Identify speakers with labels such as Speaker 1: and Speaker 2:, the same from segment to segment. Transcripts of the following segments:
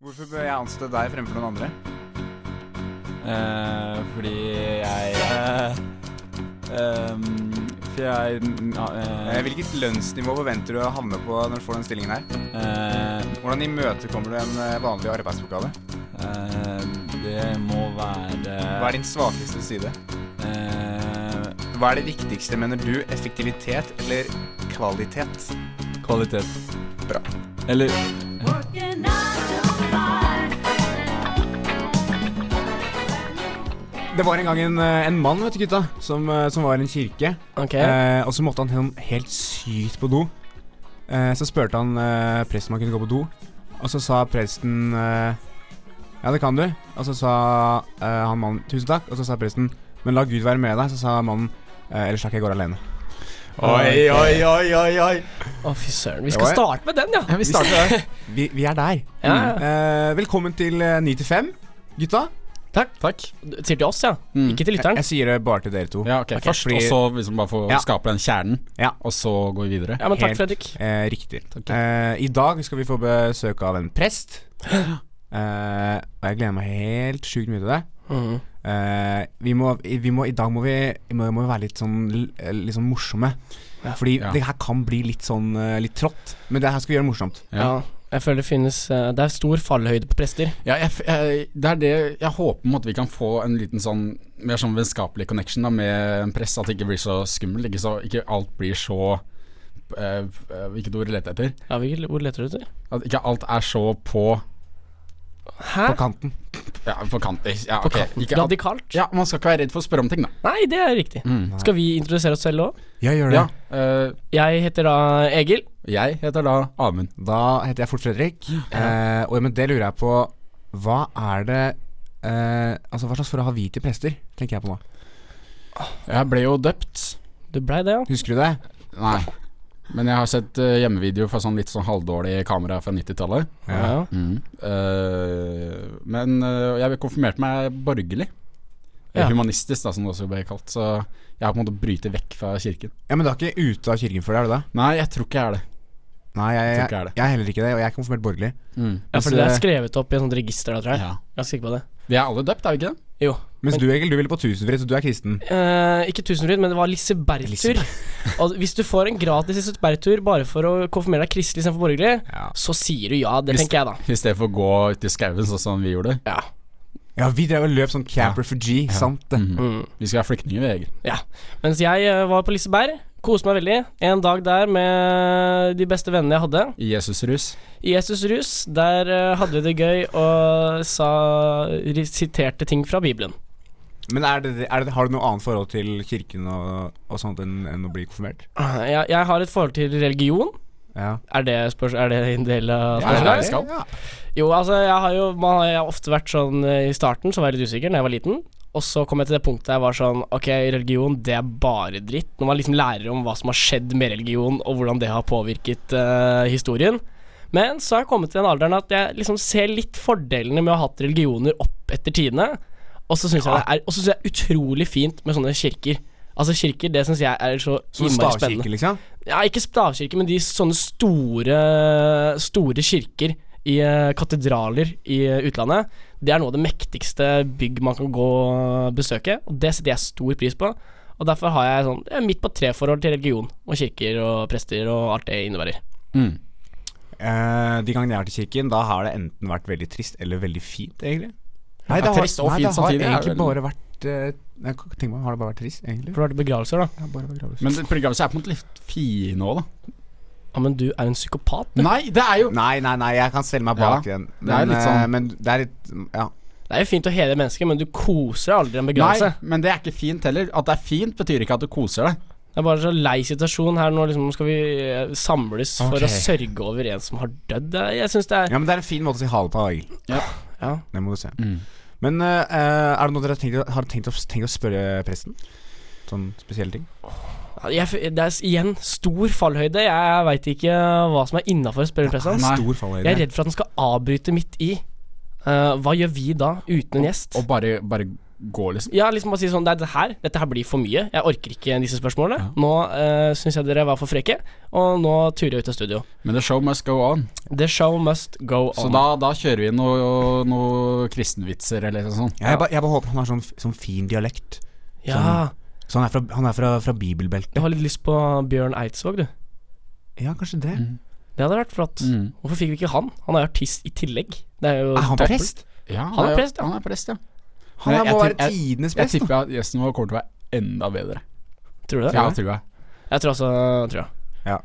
Speaker 1: Hvorfor bør jeg ansette deg fremfor noen andre?
Speaker 2: Eh, fordi jeg eh, ehm, For jeg ja,
Speaker 1: Eh,
Speaker 2: eh,
Speaker 1: Hvilket lønnsnivå forventer du å havne på når du får den stillingen her?
Speaker 2: eh,
Speaker 1: Hvordan imøtekommer du en eh, vanlig arbeidsoppgave?
Speaker 2: eh, Det må være
Speaker 1: Hva er din svakeste side?
Speaker 2: eh,
Speaker 1: Hva er det viktigste, mener du? Effektivitet eller kvalitet?
Speaker 2: kvalitet.
Speaker 1: Bra.
Speaker 2: Eller
Speaker 3: Working nine to five.
Speaker 1: Det var en gang en, eh, en mann, vet du gutta, som, eh, som var i en kirke.
Speaker 4: Ok.
Speaker 1: Eh, og så måtte han sånn helt sykt på do. Eh, så spurte han eh, presten om han kunne gå på do. Og så sa presten eh, Ja, det kan du. Og så sa eh, han mannen tusen takk. Og så sa presten men la Gud være med deg. Så sa mannen eh, ellers takk, jeg går alene.
Speaker 4: Oi,
Speaker 1: oi, oi, oi, oi.
Speaker 4: Å, fy søren. Vi
Speaker 1: Det
Speaker 4: skal
Speaker 1: var-
Speaker 4: starte med den, ja.
Speaker 1: Vi starter der. Vi, vi er der.
Speaker 4: ja. ja.
Speaker 1: Eh, velkommen til eh, Ni til fem, gutta.
Speaker 4: Takk.
Speaker 2: Takk.
Speaker 4: Sier til oss, ja.
Speaker 2: Mm.
Speaker 4: Ikke
Speaker 1: Mm.
Speaker 4: til
Speaker 1: Jeg,
Speaker 4: lytteren.
Speaker 1: jeg sier det bare til dere to.
Speaker 2: Ja, ok, Først,
Speaker 1: fordi-
Speaker 2: og så liksom bare få
Speaker 1: Ja.
Speaker 2: skape den kjernen,
Speaker 1: Ja.
Speaker 2: og så går vi videre.
Speaker 4: Ja, men takk,
Speaker 1: helt-
Speaker 4: Fredrik.
Speaker 1: Eh, riktig.
Speaker 2: Takk.
Speaker 1: Eh, I dag skal vi få besøk av en prest. Eh, og jeg gleder meg helt sjukt mye til det.
Speaker 4: Mhm.
Speaker 1: Eh, vi må, vi må, I dag må vi, vi må, må vi være litt sånn, l- eh, litt sånn morsomme. Fordi
Speaker 2: Ja.
Speaker 1: det her kan bli litt sånn eh, litt trått, men det her skal vi gjøre morsomt.
Speaker 2: Ja.
Speaker 4: Ja. Jeg føler det finnes eh, Det er stor fallhøyde på prester.
Speaker 2: Ja, jeg, f- jeg, det er det jeg håper på en måte vi kan få en liten sånn mer sånn vennskapelig connection da, med en press. At det ikke blir så skummelt. Ikke, så, ikke alt blir så eh, eh, Hvilket ord leter jeg etter?
Speaker 4: Ja, hvilke- Hvor leter du etter?
Speaker 2: At ikke alt er så på
Speaker 4: Hæ?
Speaker 1: På kanten.
Speaker 2: Ja, på kant. Ja,
Speaker 4: På
Speaker 2: ok.
Speaker 4: kanten?
Speaker 2: Ikke alt,
Speaker 4: Radikalt?
Speaker 2: ja, man skal ikke være redd for å spørre om ting, da.
Speaker 4: Nei, det er riktig.
Speaker 2: Mm.
Speaker 4: Skal vi introdusere oss selv òg?
Speaker 1: Ja, gjør
Speaker 2: Ja, eh,
Speaker 4: Jeg heter da Egil.
Speaker 2: jeg heter da Amund.
Speaker 1: Da heter jeg Fort Fredrik, eh, og med det lurer jeg på Hva er det eh, Altså, hva slags forhold har vi til prester, tenker jeg på nå.
Speaker 2: Jeg ble jo døpt.
Speaker 4: Du blei det, ja?
Speaker 1: Husker du det?
Speaker 2: Nei. Men jeg har sett eh, hjemmevideo fra sånn litt sånn halvdårlig kamera fra 90-tallet.
Speaker 4: Ja.
Speaker 2: Mm. Eh, men eh, jeg konfirmerte meg borgerlig. Eh,
Speaker 4: Ja.
Speaker 2: Humanistisk, da, som det også ble kalt. Så jeg har på en måte brytet vekk fra kirken.
Speaker 1: Ja, Men du er ikke ute av kirken før det, er du det?
Speaker 2: Nei, jeg tror ikke jeg er det.
Speaker 1: Nei, jeg,
Speaker 2: Jeg tror
Speaker 1: jeg,
Speaker 2: ikke jeg er det.
Speaker 1: jeg er heller ikke det, og jeg er konfirmert borgerlig.
Speaker 4: Ja,
Speaker 2: Mm.
Speaker 1: Mens,
Speaker 4: fordi det er
Speaker 1: eh,
Speaker 4: skrevet opp i et sånt register, da, tror jeg.
Speaker 2: Ja.
Speaker 4: Jeg er sikker på det.
Speaker 2: Vi er alle døpt, er vi ikke det?
Speaker 4: Jo.
Speaker 1: Mens du, Egil, du ville på tusenfryd, så du er kristen.
Speaker 4: Eh, ikke tusenfryd, men det var Liseberg-tur. Og hvis du får en gratis Liseberg-tur bare for å konfirmere deg kristelig istedenfor borgerlig,
Speaker 1: Ja.
Speaker 4: så sier du ja. Det
Speaker 2: Hvis-
Speaker 4: tenker jeg, da.
Speaker 2: I stedet for å gå ut i skauen sånn som vi gjorde.
Speaker 4: Ja.
Speaker 1: Ja, vi drev og løp sånn Camp Refugee, sant det.
Speaker 4: Mm.
Speaker 2: Vi skal være flyktninger, vi, Egil.
Speaker 4: ja. Mens jeg eh, var på Liseberg, koste meg veldig. En dag der med de beste vennene jeg hadde.
Speaker 2: I Jesusrus.
Speaker 4: I Jesus Rus, der eh, hadde vi det gøy og sa siterte ting fra Bibelen.
Speaker 1: Men er det, er det, har du noe annet forhold til kirken og, og sånt enn, enn å bli konfirmert?
Speaker 4: Jeg, jeg har et forhold til religion.
Speaker 1: Ja.
Speaker 4: Er det, spørs, er det en del av
Speaker 2: Ja,
Speaker 4: spørsmålet?
Speaker 2: det skal.
Speaker 1: Ja.
Speaker 4: Jo, altså, jeg har jo man har, jeg har ofte vært sånn eh, I starten så var jeg litt usikker da jeg var liten. Og så kom jeg til det punktet der jeg var sånn Ok, religion, det er bare dritt. Når man liksom lærer om hva som har skjedd med religion, og hvordan det har påvirket eh, historien. Men så har jeg kommet til den alderen at jeg liksom ser litt fordelene med å ha hatt religioner opp etter tidene. Og så syns jeg det er og så synes jeg det er utrolig fint med sånne kirker. Altså kirker, det syns jeg er så
Speaker 1: Som
Speaker 4: innmari spennende.
Speaker 1: stavkirke, liksom?
Speaker 4: Ja, ikke stavkirke, men de sånne store, store kirker i eh, katedraler i eh, utlandet. Det er noe av det mektigste bygg man kan gå og besøke, og det setter jeg stor pris på. Og derfor har jeg sånn jeg er midt på tre-forhold til religion og kirker og prester og alt det innebærer.
Speaker 2: Mm.
Speaker 1: Eh, de gangene jeg har vært i kirken, da har det enten vært veldig trist eller veldig fint, egentlig. Nei,
Speaker 2: Ja, trist og
Speaker 1: nei,
Speaker 2: fint
Speaker 1: det har
Speaker 2: samtidig er
Speaker 1: egentlig
Speaker 2: vel-
Speaker 1: bare vært eh, nei, Tenk meg, har det bare vært trist, egentlig?
Speaker 4: For du har vært i begravelser, da.
Speaker 1: Ja, bare vært gravis.
Speaker 2: Men begravelse er på en måte litt fin nå, da.
Speaker 4: Ja, men du er en psykopat. du.
Speaker 2: Nei, det er jo
Speaker 1: Nei, nei, nei, jeg kan selge meg bak
Speaker 2: Ja,
Speaker 1: den.
Speaker 2: det er
Speaker 1: Men,
Speaker 2: litt sånn-
Speaker 1: eh, men det er litt Ja.
Speaker 4: Det er jo fint å hedre mennesker, men du koser deg aldri i en
Speaker 2: Nei,
Speaker 4: begravelse.
Speaker 2: men det er ikke fint heller. At det er fint, betyr ikke at du koser deg.
Speaker 4: Det er bare så lei situasjon her nå, liksom skal vi eh, samles
Speaker 1: Ok.
Speaker 4: for å sørge over en som har dødd. Det er- Jeg syns det er
Speaker 1: ja, men det er en fin måte å si ha det på, Egil.
Speaker 4: ja.
Speaker 1: Det må du se.
Speaker 2: Mm.
Speaker 1: Men eh, er det noe dere har tenkt, har tenkt, å, tenkt å spørre presten? Sånn spesielle ting?
Speaker 4: Jeg, f- det er s- igjen stor fallhøyde. Jeg veit ikke hva som er innafor spillerpressen.
Speaker 2: Nei.
Speaker 1: Stor fallhøyde.
Speaker 4: Jeg er redd for at den skal avbryte midt i. Eh, hva gjør vi da uten en gjest?
Speaker 2: Og bare, bare gå, liksom.
Speaker 4: Ja, liksom bare si sånn Det er det her. Dette her blir for mye. Jeg orker ikke disse spørsmålene. Nå uh, syns jeg dere var for frekke, og nå turer jeg ut av studio.
Speaker 2: Men the show must go on.
Speaker 4: The show must go on.
Speaker 2: Så da, da kjører vi noe, noe kristenvitser eller noe sånt.
Speaker 1: Jeg, bare, jeg bare håper han har sånn, f- sånn fin dialekt.
Speaker 4: ja,
Speaker 1: Så han er fra, han er fra, fra
Speaker 4: jeg
Speaker 1: bibelbeltet.
Speaker 4: har litt lyst på Bjørn Eidsvåg, du.
Speaker 1: Ja, kanskje det.
Speaker 4: Det hadde vært flott.
Speaker 2: Mm.
Speaker 4: Hvorfor fikk vi ikke han? Han er jo artist i tillegg. Det er jo
Speaker 1: Er han
Speaker 4: dobbelt.
Speaker 1: prest?
Speaker 2: Ja,
Speaker 4: Han er prest, ja.
Speaker 2: Han er prest, ja.
Speaker 1: Han
Speaker 2: Nei,
Speaker 1: er- må
Speaker 2: jeg
Speaker 1: være
Speaker 2: tipp- jeg-
Speaker 1: tidenes
Speaker 2: Jeg
Speaker 1: prest. da.
Speaker 2: tipper at gjesten vår kommer til å være enda bedre.
Speaker 4: Tror du det?
Speaker 2: Ja, tror jeg.
Speaker 4: Jeg tror også tror jeg.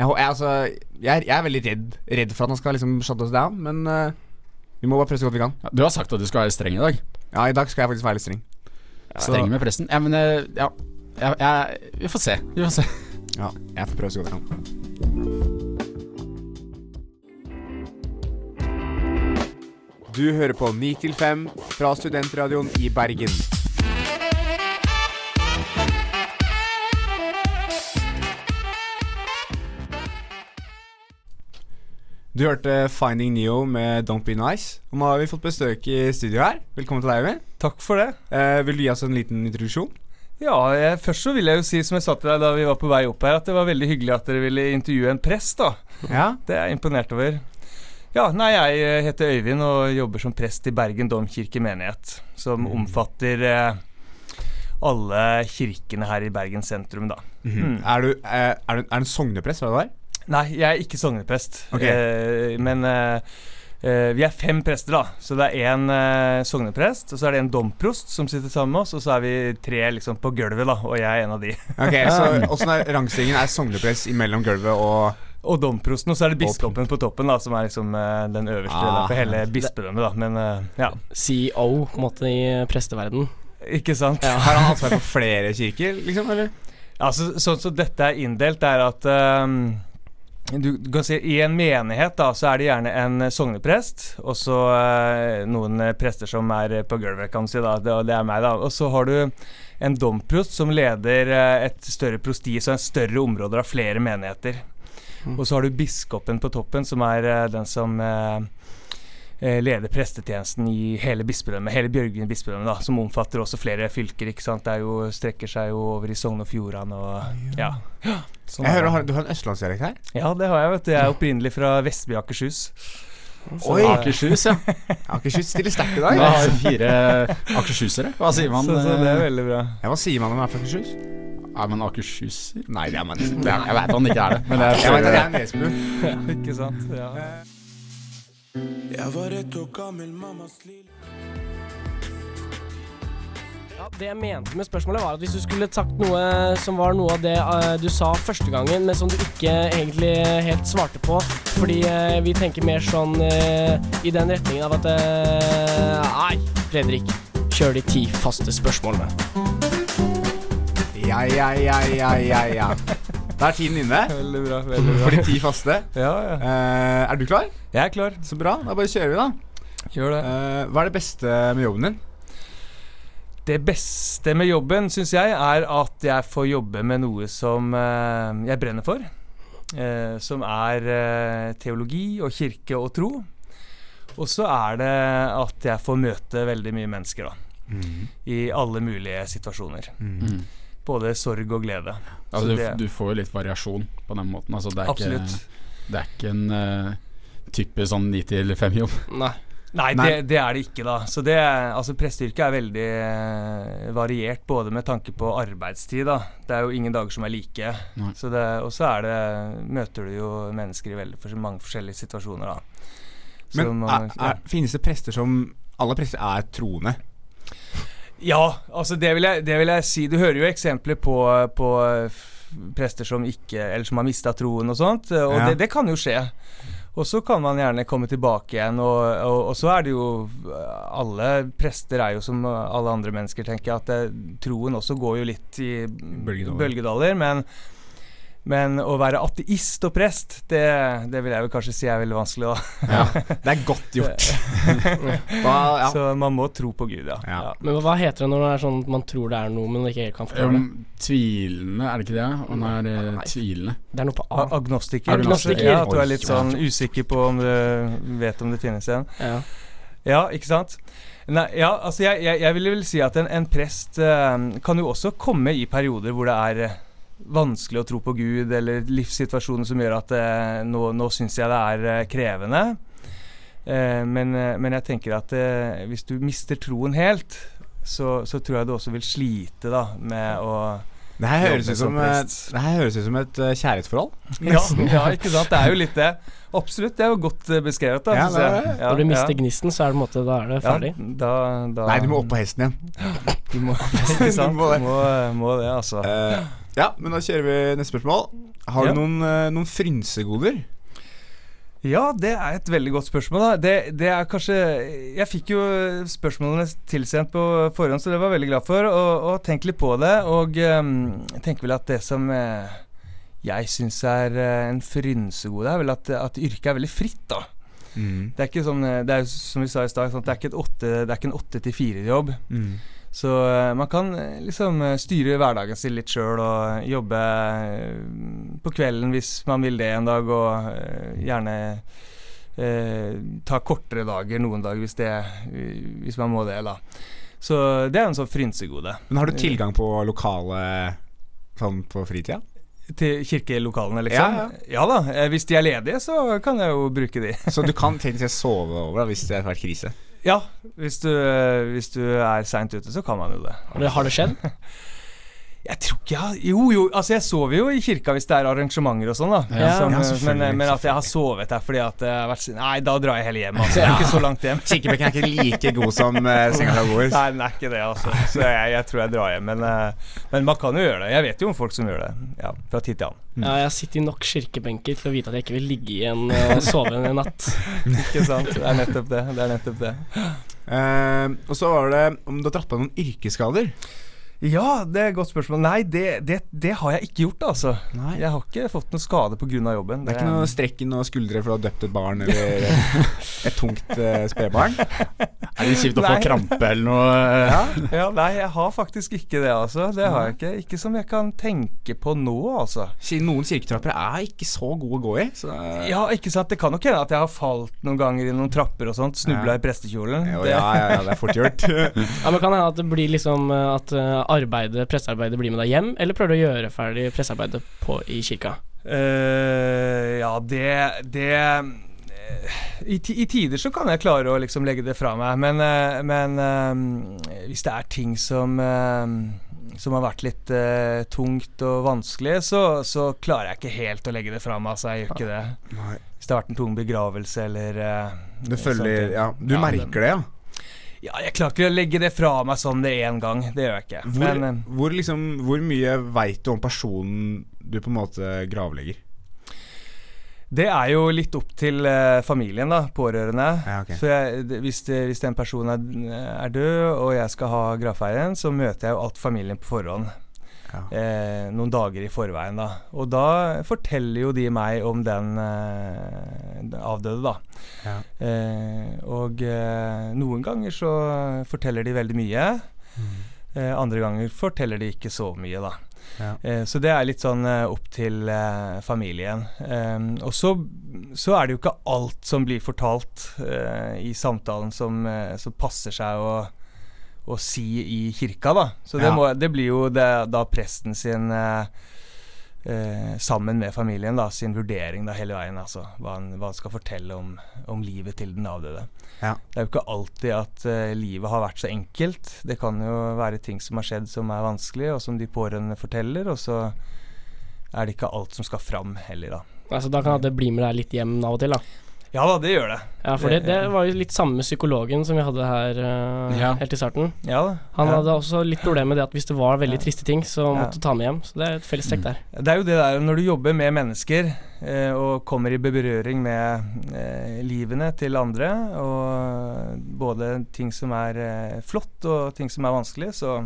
Speaker 1: Jeg, hå- jeg, altså, jeg, er, jeg er veldig redd Redd for at han skal liksom shut us down, men eh, vi må bare prøve så godt vi kan.
Speaker 2: Ja, Du har sagt at du skal være streng i dag.
Speaker 1: Ja, i dag skal jeg faktisk være litt streng. Så-
Speaker 2: Streng med presten. Ja, men eh, ja. Ja, jeg, vi får se. Vi får se.
Speaker 1: Ja, jeg får prøve så godt jeg kan. Du hører på 9 til 5 fra Studentradioen i Bergen. Du hørte 'Finding Neo' med 'Don't Be Nice'. Og nå har vi fått besøk i studio her. Velkommen til deg, Øyvind.
Speaker 5: Takk for det.
Speaker 1: Eh, vil du gi oss en liten introduksjon?
Speaker 5: Ja, jeg, Først så vil jeg jo si, som jeg sa til deg da vi var på vei opp her, at det var veldig hyggelig at dere ville intervjue en prest, da.
Speaker 1: Ja.
Speaker 5: Det er jeg imponert over. Ja, nei, jeg eh, heter Øyvind og jobber som prest i Bergen domkirke menighet, som omfatter eh, alle kirkene her i Bergen sentrum, da. Mm.
Speaker 1: Er, du, eh, er, du, er du en sogneprest? Hva det var?
Speaker 5: Nei, jeg er ikke sogneprest,
Speaker 1: Ok.
Speaker 5: eh, men eh, eh, vi er fem prester, da. Så det er én eh, sogneprest, og så er det en domprost som sitter sammen med oss, og så er vi tre liksom på gulvet, da, og jeg er en av de.
Speaker 1: Ok, så Åssen er rangstigen? Er sogneprest imellom gulvet og
Speaker 5: Og domprosten, og så er det biskopen på toppen, da, som er liksom eh, den øverste
Speaker 1: Ah.
Speaker 5: ah, på hele bispedømmet, da. Men eh, ja,
Speaker 4: CEO, E på en måte, i presteverden
Speaker 5: ikke sant?
Speaker 1: Har han ansvar for flere kirker, liksom? Eller?
Speaker 5: Altså, sånn som dette er inndelt, er at eh, du, du kan si I en menighet da, så er det gjerne en eh, sogneprest, og så eh, noen eh, prester som er eh, på gulvet, kan du si. da, det, og det er meg da, Og så har du en domprost som leder eh, et større prosti, så en større områder av flere menigheter.
Speaker 4: Mm.
Speaker 5: Og så har du biskopen på toppen, som er eh, den som eh, eh, leder prestetjenesten i hele bispedømmet, hele Bjørgvin bispedømme, da, som omfatter også flere fylker. ikke sant? Det er jo, strekker seg jo over i Sogn og Fjordane og ja. Ja, sånn
Speaker 1: Jeg
Speaker 5: er
Speaker 1: hører
Speaker 5: det.
Speaker 1: har- Du har en østlandsdialekt her?
Speaker 5: Ja, det har jeg, vet du. Jeg er opprinnelig fra Vestby Akershus.
Speaker 1: Oi!
Speaker 2: Akershus, ja.
Speaker 1: Akershus stiller sterkt i
Speaker 2: Vi
Speaker 1: dag.
Speaker 2: har fire akershusere. Hva sier man?
Speaker 5: så, så det er
Speaker 2: eh,
Speaker 5: veldig bra.
Speaker 1: Ja, hva sier man om man er fra Akershus?
Speaker 2: Er man akershuser?
Speaker 1: Nei, det er man
Speaker 2: Det er- Jeg vet han ikke er det, men det er
Speaker 1: Jeg vet at jeg er nesbu.
Speaker 5: Ikke sant? Ja.
Speaker 4: Ja, Det jeg mente med spørsmålet var at hvis du skulle sagt noe som var noe av det eh, du sa første gangen, men som du ikke egentlig helt svarte på, fordi eh, vi tenker mer sånn eh, i den retningen av at eh, Nei, Fredrik, kjør de ti faste spørsmålene.
Speaker 1: Ja, ja, ja, ja, ja, ja. Da er tiden inne
Speaker 5: Veldig bra. veldig
Speaker 1: for
Speaker 5: bra.
Speaker 1: de ti faste.
Speaker 5: Ja, ja.
Speaker 1: Eh, er du klar?
Speaker 5: Jeg er klar.
Speaker 1: Så bra. Da bare kjører vi, da.
Speaker 5: Gjør det.
Speaker 1: Eh, hva er det beste med jobben din?
Speaker 5: Det beste med jobben, syns jeg, er at jeg får jobbe med noe som eh, jeg brenner for. eh, som er eh, teologi og kirke og tro. Og så er det at jeg får møte veldig mye mennesker, da.
Speaker 1: Mm.
Speaker 5: I alle mulige situasjoner.
Speaker 2: Mm.
Speaker 5: Både sorg og glede.
Speaker 2: Altså,
Speaker 5: Så
Speaker 2: du,
Speaker 5: det-
Speaker 2: du får jo litt variasjon på den måten. Altså, det, er
Speaker 5: Absolutt.
Speaker 2: ikke, det er ikke en eh, type sånn ni til fem-jobb.
Speaker 4: Nei.
Speaker 5: Nei,
Speaker 1: Nei.
Speaker 5: Det, det er det ikke, da. Så det, altså Presteyrket er veldig eh, variert, både med tanke på arbeidstid, da. Det er jo ingen dager som er like.
Speaker 2: Nei.
Speaker 5: Så det, og så er det, møter du jo mennesker i veldig fors- mange forskjellige situasjoner, da. Så
Speaker 1: Men er,
Speaker 5: man-
Speaker 1: er, finnes det prester som Alle prester er troende.
Speaker 5: Ja, altså det vil jeg, det vil jeg si. Du hører jo eksempler på, på f- prester som ikke Eller som har mista troen og sånt, og
Speaker 1: Ja.
Speaker 5: det, det kan jo skje. Og så kan man gjerne komme tilbake igjen, og, og, og så er det jo Alle prester er jo som alle andre mennesker, tenker jeg, at det, troen også går jo litt i
Speaker 1: Bølgedaler.
Speaker 5: bølgedaler men men å være ateist og prest, det, det vil jeg vel kanskje si er veldig vanskelig. Da.
Speaker 1: Det er godt gjort. Hva, ja.
Speaker 5: Så man må tro på Gud, ja.
Speaker 1: Ja.
Speaker 4: Men hva heter det når det er sånn at man tror det er noe, men ikke helt kan forklare det?
Speaker 2: Um, tvilende, er det ikke det? Han er eh,
Speaker 4: Nei.
Speaker 2: tvilende.
Speaker 4: Det er noe på
Speaker 5: A-
Speaker 4: A.
Speaker 5: Agnostiker.
Speaker 2: Agnostiker.
Speaker 5: Ja, at du
Speaker 1: Oi,
Speaker 5: er litt
Speaker 1: ja.
Speaker 5: sånn usikker på om du vet om det finnes en.
Speaker 4: Ja.
Speaker 5: Ja, ikke sant? Nei, ja, altså jeg, jeg, jeg ville vel si at en, en prest eh, kan jo også komme i perioder hvor det er eh, vanskelig å tro på Gud, eller livssituasjoner som gjør at eh, nå, nå syns jeg det er eh, krevende. Eh, men, eh, men jeg tenker at eh, hvis du mister troen helt, så, så tror jeg du også vil slite da med å
Speaker 1: Det her høres
Speaker 5: Jobbe
Speaker 1: ut som,
Speaker 5: som
Speaker 1: eh,
Speaker 5: prest.
Speaker 1: det her høres ut som et eh, kjærlighetsforhold.
Speaker 5: ja, ja, ikke sant? Det er jo litt det. Absolutt. Det er jo godt eh, beskrevet. da
Speaker 1: Ja,
Speaker 5: synes
Speaker 1: det er
Speaker 5: jeg.
Speaker 1: det.
Speaker 5: Ja,
Speaker 4: Når du mister
Speaker 5: ja.
Speaker 4: gnisten, så er det, på en måte, da er det ferdig.
Speaker 5: Ja, da, da,
Speaker 1: Nei, du må opp på hesten igjen.
Speaker 5: Du må, ikke
Speaker 1: Du
Speaker 5: sant? Du
Speaker 1: må
Speaker 5: må,
Speaker 1: det.
Speaker 5: må, det, altså.
Speaker 1: Eh, ja, men da kjører vi neste spørsmål. Har
Speaker 5: Ja.
Speaker 1: du noen, eh, noen frynsegoder?
Speaker 5: Ja, det er et veldig godt spørsmål. da. Det, det er kanskje Jeg fikk jo spørsmålene tilsendt på forhånd, så det var jeg veldig glad for. Og, og tenk litt på det. Og ehm, jeg tenker vel at det som eh, jeg syns er eh, en frynsegode, er vel at, at yrket er veldig fritt, da.
Speaker 1: Mm.
Speaker 5: Det er ikke sånn eh, Det er jo som vi sa i stad, sånn at det er ikke et åtte- det er ikke en åtte til fire-jobb.
Speaker 1: Mm.
Speaker 5: Så eh, man kan eh, liksom eh, styre hverdagen sin litt sjøl og jobbe eh, på kvelden hvis man vil det en dag, og eh, gjerne eh, ta kortere dager noen dager hvis, det, eh, hvis man må det, da. Så det er en sånn frynsegode.
Speaker 1: Men har du tilgang på lokale sånn på fritida?
Speaker 5: Til kirkelokalene, liksom?
Speaker 1: Ja,
Speaker 5: da. eh, Hvis de er ledige, så kan jeg jo bruke de.
Speaker 1: Så du kan tenke deg å sove over da, hvis det har vært krise?
Speaker 5: Ja, hvis du, eh, hvis du er seint ute, så kan man jo det.
Speaker 4: Har det- Har det skjedd?
Speaker 5: Jeg tror ikke jeg har Jo, jo, altså jeg sover jo i kirka hvis det er arrangementer og sånn, da.
Speaker 2: Ja.
Speaker 5: Som,
Speaker 1: Ja,
Speaker 5: men,
Speaker 1: selvfølgelig,
Speaker 5: men at jeg har sovet der fordi at jeg har vært sin- Nei, da drar jeg heller hjem, altså. Jeg er ikke så langt hjem.
Speaker 1: Kikkebekken er ikke like god som eh, senga til Boris.
Speaker 5: Nei, den er ikke det, altså. Så jeg, jeg tror jeg drar hjem. Men, eh, men man kan jo gjøre det. Jeg vet jo om folk som gjør det. Ja, fra tid til annen.
Speaker 4: Ja, jeg sitter i nok kirkebenker til å vite at jeg ikke vil ligge igjen og sove en natt.
Speaker 5: Ikke sant? Det er nettopp det. Det er nettopp det.
Speaker 1: Eh, og så var det om du har dratt på deg noen yrkesskader.
Speaker 5: Ja, det er et godt spørsmål. Nei, det, det, det har jeg ikke gjort, altså.
Speaker 1: Nei.
Speaker 5: Jeg har ikke fått noen skade pga. jobben.
Speaker 1: Det er ikke noe strekk i noen skuldre for å ha døpt et barn eller et tungt eh, spedbarn.
Speaker 2: Er det kjipt å få
Speaker 5: Nei.
Speaker 2: krampe eller noe?
Speaker 5: Ja, ja, nei, jeg har faktisk ikke det, altså. Det har jeg ikke. Ikke som jeg kan tenke på nå, altså.
Speaker 1: Ki- Noen kirketrapper er ikke så gode å gå i. Så, eh, ja,
Speaker 5: Ja, ikke sant. Det kan nok hende at jeg har falt noen ganger i noen trapper og sånt. Snubla
Speaker 1: Ja.
Speaker 5: i prestekjolen.
Speaker 1: jo,
Speaker 5: Det-
Speaker 1: ja, ja, ja, det er fort gjort.
Speaker 4: Ja, men Kan det hende at det blir liksom eh, at eh, arbeidet, pressearbeidet blir med deg hjem, eller prøver du å gjøre ferdig pressearbeidet på, i kirka?
Speaker 5: Eh, ja, det, det eh, i, ti- I tider så kan jeg klare å liksom legge det fra meg, men, eh, men eh, hvis det er ting som eh, som har vært litt eh, tungt og vanskelig, så, så klarer jeg ikke helt å legge det fra meg. Altså, jeg gjør ikke det.
Speaker 1: Nei.
Speaker 5: Hvis det har vært en tung begravelse eller eh,
Speaker 1: Du følger
Speaker 5: sånne ting.
Speaker 1: Ja, du
Speaker 5: Ja, det-
Speaker 1: merker det, ja.
Speaker 5: Ja, jeg klarer ikke å legge det fra meg sånn det én gang. Det gjør jeg ikke.
Speaker 1: Hvor,
Speaker 5: Men, eh,
Speaker 1: hvor, liksom, hvor mye veit du om personen du på en måte gravlegger?
Speaker 5: Det er jo litt opp til eh, familien, da, pårørende.
Speaker 1: Ja, ok.
Speaker 5: Så jeg, det- hvis, det, hvis en person er, er død, og jeg skal ha gravferden, så møter jeg jo alt familien på forhånd.
Speaker 1: Ja.
Speaker 5: Eh, noen dager i forveien, da. Og da forteller jo de meg om den eh, den avdøde, da. Eh, og eh, noen ganger så forteller de veldig mye.
Speaker 1: Mm.
Speaker 5: Eh, andre ganger forteller de ikke så mye, da.
Speaker 1: Ja.
Speaker 5: Eh, så det er litt sånn eh, opp til eh, familien. Eh, og så, så er det jo ikke alt som blir fortalt eh, i samtalen som, eh, som passer seg å å si i kirka, da. Så det,
Speaker 1: Ja.
Speaker 5: må, det blir jo det, da presten sin eh, eh, sammen med familien da, sin vurdering da, hele veien. Altså, hva, han, hva han skal fortelle om, om livet til den avdøde.
Speaker 1: Ja.
Speaker 5: Det er jo ikke alltid at eh, livet har vært så enkelt. Det kan jo være ting som har skjedd som er vanskelig, og som de pårørende forteller. Og så er det ikke alt som skal fram heller, da.
Speaker 4: Altså Da kan det bli med deg litt hjem av og til, da.
Speaker 5: Ja da, det gjør det.
Speaker 4: Ja, for det, det var jo litt samme med psykologen som vi hadde her eh,
Speaker 2: Ja.
Speaker 4: helt i starten.
Speaker 5: Ja da.
Speaker 4: Han
Speaker 5: ja.
Speaker 4: hadde også litt problemer med det at hvis det var veldig triste ting, så
Speaker 5: Ja.
Speaker 4: måtte du ta med hjem. Så det er et fellestrekk der.
Speaker 5: Det er jo det der når du jobber med mennesker eh, og kommer i berøring med eh, livene til andre, og både ting som er eh, flott og ting som er vanskelig, så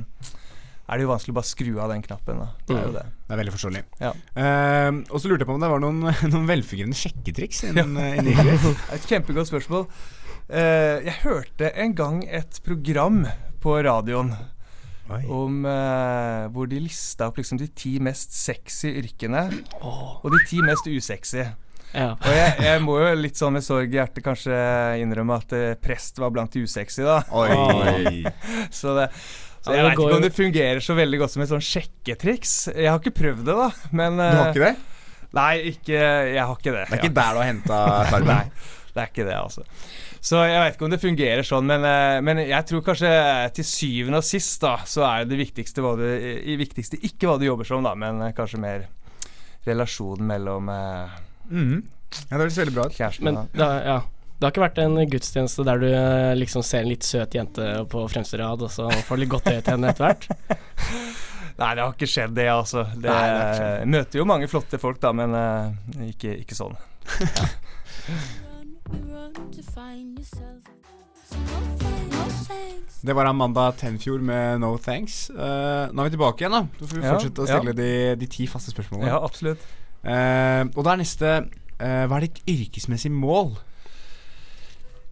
Speaker 5: er det jo vanskelig å bare skru av den knappen. Da. Det
Speaker 4: Mm.
Speaker 5: er jo det.
Speaker 1: Det er veldig forståelig.
Speaker 5: Ja.
Speaker 1: Eh, og så lurte jeg på om det var noen, noen velfungerende sjekketriks eh, innen ja. yrket.
Speaker 5: Et kjempegodt spørsmål. Eh, jeg hørte en gang et program på radioen
Speaker 1: Oi.
Speaker 5: om eh, hvor de lista opp liksom de ti mest sexy yrkene og de ti mest usexy.
Speaker 4: Ja.
Speaker 5: Og jeg, jeg må jo litt sånn med sorg i hjertet kanskje innrømme at eh, prest var blant de usexy, da.
Speaker 4: Oi.
Speaker 5: Så det så
Speaker 4: Ja,
Speaker 5: jeg
Speaker 4: det
Speaker 5: veit
Speaker 4: går
Speaker 5: ikke om
Speaker 4: jo-
Speaker 5: det fungerer så veldig godt som et sånn sjekketriks. Jeg har ikke prøvd det, da. Men eh,
Speaker 6: Du har ikke det?
Speaker 5: Nei, ikke, jeg har ikke det.
Speaker 6: Det er ikke der du har henta tarmen?
Speaker 5: Nei, det er ikke det, altså. Så jeg veit ikke om det fungerer sånn, men, eh, men jeg tror kanskje til syvende og sist, da, så er det det viktigste, hva du, i- viktigste ikke hva du jobber som, da, men eh, kanskje mer relasjonen mellom eh,
Speaker 1: Mhm. Ja, det høres veldig bra ut.
Speaker 5: kjærestene.
Speaker 4: Men
Speaker 5: da.
Speaker 4: det, har- ja. det har ikke vært en gudstjeneste der du eh, liksom ser en litt søt jente på fremste rad, og så får du litt godt øye til henne etter hvert?
Speaker 5: Nei, det har ikke skjedd, det, altså. Det,
Speaker 6: Nei, det har ikke skjedd.
Speaker 5: eh, møter jo mange flotte folk, da, men eh, ikke, ikke sånn.
Speaker 7: run, we run to find yourself. So no thanks, no thanks.
Speaker 1: Det var Amanda Tenfjord med No Thanks. Eh, nå er vi tilbake igjen, da. Da får vi
Speaker 5: Ja,
Speaker 1: fortsette å
Speaker 5: ja.
Speaker 1: stille de, de ti faste spørsmålene.
Speaker 5: Ja, absolutt.
Speaker 1: Eh, og da er neste eh, Hva er ditt yrkesmessige mål?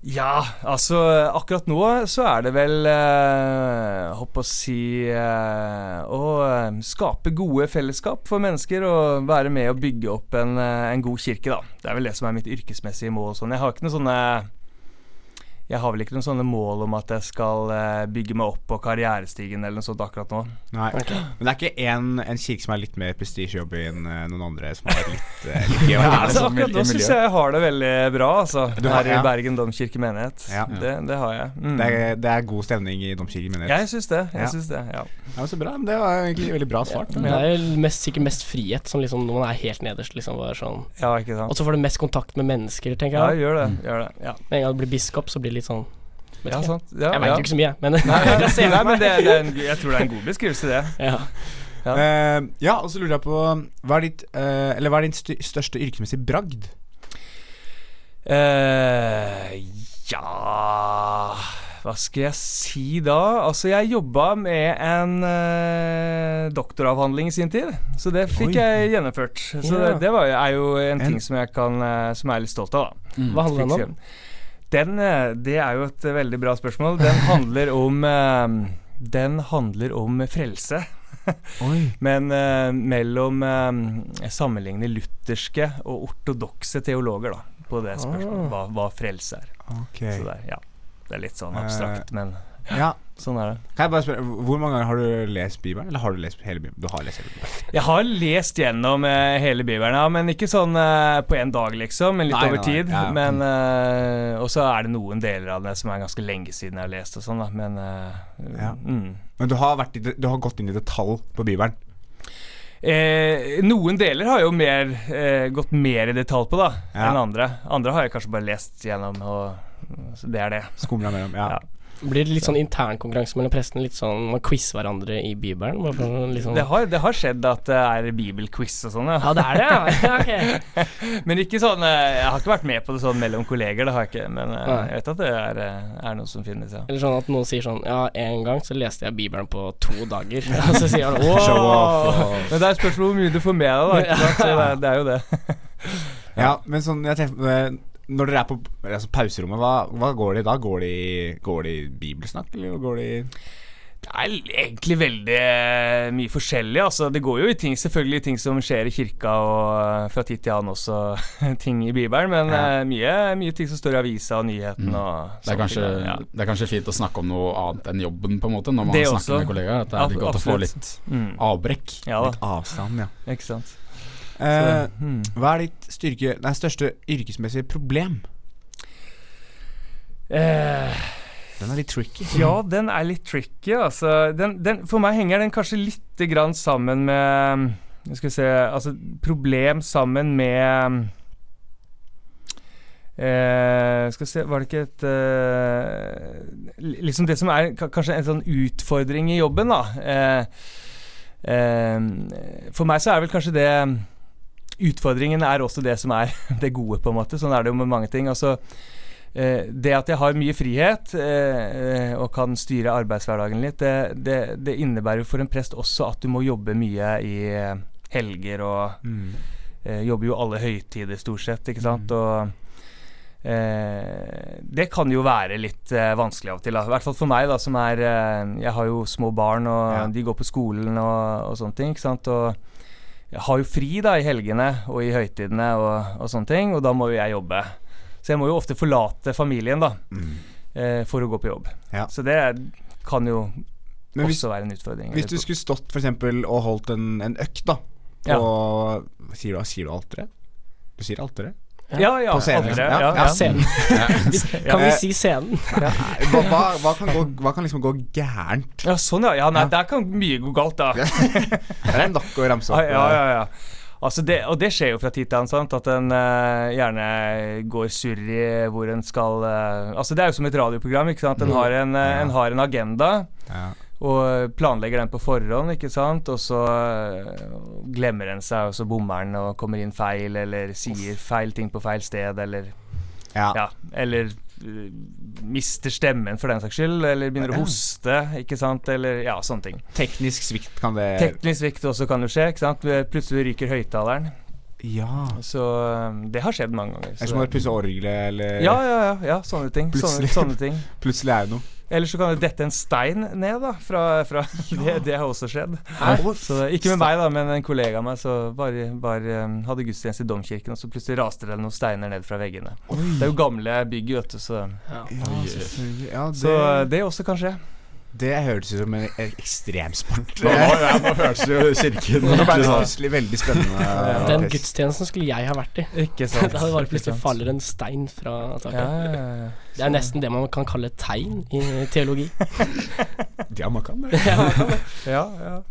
Speaker 5: Ja, altså akkurat nå så er det vel eh, Håper å si eh, Å eh, skape gode fellesskap for mennesker og være med å bygge opp en, eh, en god kirke, da. Det er vel det som er mitt yrkesmessige mål. og Sånn. Jeg har ikke noen sånne Jeg har vel ikke noen sånne mål om at jeg skal eh, bygge meg opp på karrierestigen eller noe sånt akkurat nå.
Speaker 1: Nei. Men det er ikke en, en kirke som er litt mer prestisjejobb enn eh, noen andre som har litt, eh, litt gøy å
Speaker 5: Ja,
Speaker 1: være
Speaker 5: altså,
Speaker 1: med.
Speaker 5: akkurat nå syns jeg jeg har det veldig bra, altså.
Speaker 1: Du har-
Speaker 5: her
Speaker 1: ja.
Speaker 5: i Bergen domkirke menighet.
Speaker 1: Ja.
Speaker 5: Det, det har jeg. Mm.
Speaker 1: Det er, det er god stemning i domkirken, mener jeg.
Speaker 5: jeg syns det.
Speaker 1: Ja.
Speaker 5: Jeg synes det, ja.
Speaker 1: Ja, men så bra. Men det var egentlig veldig bra svart.
Speaker 4: Det er jo mest, sikkert mest frihet, som liksom når man er helt nederst, liksom bare sånn.
Speaker 5: ja, ikke sant.
Speaker 4: Og så får du mest kontakt med mennesker, tenker
Speaker 5: Ja,
Speaker 4: jeg.
Speaker 5: gjør det. Gjør det. Ja,
Speaker 4: Med en gang du blir biskop, så blir det litt sånn vet
Speaker 5: ja
Speaker 4: ikke.
Speaker 5: sant. Ja,
Speaker 4: Jeg veit
Speaker 5: ja.
Speaker 4: jo ikke så mye, men
Speaker 5: Nei,
Speaker 4: jeg
Speaker 5: nei,
Speaker 4: ser
Speaker 5: nei,
Speaker 4: for meg.
Speaker 5: men det, det er en, jeg tror det er en god beskrivelse, det.
Speaker 4: Ja.
Speaker 5: Ja.
Speaker 1: Eh, ja, og så lurer jeg på Hva er ditt eh, Eller hva er din st største yrkesmessige bragd?
Speaker 5: eh ja Hva skal jeg si da? Altså, jeg jobba med en eh, doktoravhandling i sin tid, så det fikk
Speaker 1: Oi.
Speaker 5: jeg gjennomført. Så
Speaker 4: Ja.
Speaker 5: det, det var, jo- er jo en,
Speaker 1: En-
Speaker 5: ting som jeg, kan, eh, som jeg er litt stolt av, da.
Speaker 2: Mm.
Speaker 4: Hva handler den
Speaker 5: Fikk
Speaker 4: om?
Speaker 5: se. Den, eh, det er jo et eh, veldig bra spørsmål. Den handler om eh, Den handler om frelse.
Speaker 1: Oi
Speaker 5: Men eh, mellom eh, sammenligne lutherske og ortodokse teologer, da, på det spørsmålet
Speaker 4: Ah.
Speaker 5: hva, hva frelse er.
Speaker 1: Ok
Speaker 5: Så det er, ja. det er litt sånn
Speaker 1: Eh.
Speaker 5: abstrakt, men
Speaker 1: Ja,
Speaker 5: sånn er det.
Speaker 1: Kan jeg bare spørre, hvor mange ganger har du lest Bibelen? Eller har du lest hele Bibelen? Du har lest hele Bibelen.
Speaker 5: Jeg har lest gjennom eh, hele Bibelen, ja, men ikke sånn eh, på én dag, liksom, men litt
Speaker 1: Nei,
Speaker 5: over
Speaker 1: nei,
Speaker 5: tid.
Speaker 1: ja, ja.
Speaker 5: Men eh, Og så er det noen deler av det som er ganske lenge siden jeg har lest og sånn, da, men eh,
Speaker 1: Ja.
Speaker 5: mm.
Speaker 1: Men du har, vært i, det- du har gått inn i detalj på Bibelen.
Speaker 5: Eh, noen deler har jo mer, eh, gått mer i detalj på da
Speaker 1: Ja.
Speaker 5: enn andre. Andre har jeg kanskje bare lest gjennom, og så det er det.
Speaker 1: Skumla mellom. Ja.
Speaker 5: Ja.
Speaker 4: Blir det litt sånn internkonkurranse mellom prestene? Litt sånn man quizer hverandre i Bibelen? Bare for å liksom
Speaker 5: Det har, det har skjedd at det er bibelquiz og sånn, ja.
Speaker 4: Ja, det er det, ja. Ok.
Speaker 5: Men ikke sånn eh, Jeg har ikke vært med på det sånn mellom kolleger, det har jeg ikke. Men eh,
Speaker 4: Nei.
Speaker 5: jeg vet at det er, eh, er noe som finnes, ja.
Speaker 4: Eller sånn at noen sier sånn Ja, en gang så leste jeg Bibelen på to dager. Og så sier han
Speaker 1: Show
Speaker 4: wow.
Speaker 1: off. og-
Speaker 5: Men det er spørsmål hvor mye du får med deg, da. Ikke sant? Så det, er, det er jo det.
Speaker 1: Ja, men sånn, jeg tenker, eh, når dere er på altså pauserommet, hva, hva går det i da? Går det i, går det i bibelsnakk, eller går det i
Speaker 5: Det er egentlig veldig eh, mye forskjellig. Altså, det går jo i ting, selvfølgelig ting som skjer i kirka, og eh, fra tid til annen også ting i Bibelen, men
Speaker 1: Ja.
Speaker 5: eh, mye, mye ting som står i avisa og nyheten og
Speaker 2: Mm. Det er,
Speaker 5: sånne
Speaker 2: kanskje,
Speaker 5: ting, da. Ja.
Speaker 2: det er kanskje fint å snakke om noe annet enn jobben, på en måte, når man
Speaker 5: Det
Speaker 2: snakker
Speaker 5: også.
Speaker 2: med kollegaer. At det er litt
Speaker 5: Ab-
Speaker 2: godt å få
Speaker 5: absolutt.
Speaker 2: litt
Speaker 5: Mm.
Speaker 2: avbrekk.
Speaker 5: Ja da,
Speaker 1: avstand, ja?
Speaker 5: ikke sant.
Speaker 1: Eh,
Speaker 5: Mm.
Speaker 1: hva er ditt styrke, nei, største yrkesmessige problem?
Speaker 5: Eh,
Speaker 1: Den er litt tricky.
Speaker 5: ja, den er litt tricky, altså. Den, den, for meg henger den kanskje lite grann sammen med nå Skal vi se Altså, problem sammen med Eh, skal vi se Var det ikke et eh, li- Liksom det som er ka- kanskje en sånn utfordring i jobben, da. Eh, eh, for meg så er vel kanskje det Utfordringen er også det som er det gode, på en måte. Sånn er det jo med mange ting. Altså, eh, det at jeg har mye frihet eh, eh, og kan styre arbeidshverdagen litt, det, det, det innebærer jo for en prest også at du må jobbe mye i eh, helger og
Speaker 1: Mm.
Speaker 5: eh, jobber jo alle høytider stort sett, ikke sant. Og eh, det kan jo være litt eh, vanskelig av og til. da. I hvert fall for meg, da, som er eh, Jeg har jo små barn, og
Speaker 1: Ja.
Speaker 5: de går på skolen og, og sånne ting, ikke sant. Og jeg har jo fri da i helgene og i høytidene og, og sånne ting, og da må jo jeg jobbe. Så jeg må jo ofte forlate familien da,
Speaker 1: Mm.
Speaker 5: eh, for å gå på jobb.
Speaker 1: Ja.
Speaker 5: Så det er, kan jo
Speaker 1: Men hvis,
Speaker 5: også være en utfordring.
Speaker 1: hvis du skulle stått for eksempel og holdt en, en økt, da,
Speaker 5: Ja.
Speaker 1: og sier du, sier du alteret? Du sier alteret?
Speaker 5: ja, ja,
Speaker 1: på scenen,
Speaker 5: aldri,
Speaker 1: liksom.
Speaker 5: ja,
Speaker 1: Ja,
Speaker 5: ja.
Speaker 4: Scenen. Kan vi si scenen?
Speaker 1: Hva, hva, hva, kan gå, hva kan liksom gå gærent?
Speaker 5: Ja, sånn ja. ja nei,
Speaker 1: Ja.
Speaker 5: der kan mye gå galt, da.
Speaker 1: Det er nok å ramse
Speaker 5: Ah, Ja,
Speaker 1: opp.
Speaker 5: ja, ja, ja. Altså det, og det skjer jo fra tid til annen, sant? at en eh, gjerne går surr i hvor en skal eh, Altså Det er jo som et radioprogram. ikke sant? En har en, eh, en, har en agenda
Speaker 1: Ja.
Speaker 5: og planlegger den på forhånd, ikke sant? og så eh, glemmer en seg, og så bommer en og kommer inn feil, eller sier feil ting på feil sted, eller
Speaker 1: Ja.
Speaker 5: ja, eller eh, mister stemmen for den saks skyld, eller begynner å hoste, ikke sant, eller ja, sånne ting.
Speaker 1: Teknisk svikt kan det
Speaker 5: Teknisk svikt også kan jo skje, ikke sant. Plutselig ryker høyttaleren.
Speaker 1: Ja.
Speaker 5: Så um, det har skjedd mange ganger.
Speaker 1: Det er
Speaker 5: Så
Speaker 1: som å
Speaker 5: det-
Speaker 1: pusse orgelet, eller
Speaker 5: ja, ja, ja, ja, sånne ting. Sånne,
Speaker 1: Plutselig.
Speaker 5: sånne ting.
Speaker 1: plutselig er det noe.
Speaker 5: Eller så kan det dette en stein ned, da. Fra, fra det, det har også skjedd.
Speaker 1: Å,
Speaker 5: Så det- ikke med meg, da, men en kollega av meg så bare, bare um, hadde gudstjeneste i domkirken, og så plutselig raste det noen steiner ned fra veggene. Det er jo gamle bygg, vet du, så,
Speaker 1: Ja, selvfølgelig. ja det,
Speaker 5: så uh, det også kan skje.
Speaker 1: det hørtes ut som en ekstremsport.
Speaker 2: Nå, nå, ja, nå høres jo kirken
Speaker 1: Nå ble det
Speaker 2: sånn.
Speaker 1: plutselig veldig spennende.
Speaker 4: Den
Speaker 1: Tess.
Speaker 4: gudstjenesten skulle jeg ha vært i.
Speaker 5: Ikke
Speaker 4: Da
Speaker 5: sant.
Speaker 4: hadde det bare plutselig
Speaker 5: Ikke sant.
Speaker 4: faller en stein fra taket.
Speaker 5: Ja, ja, ja.
Speaker 4: Det er nesten det man kan kalle et tegn i teologi.
Speaker 1: Ja, man kan det.
Speaker 5: ja, ja.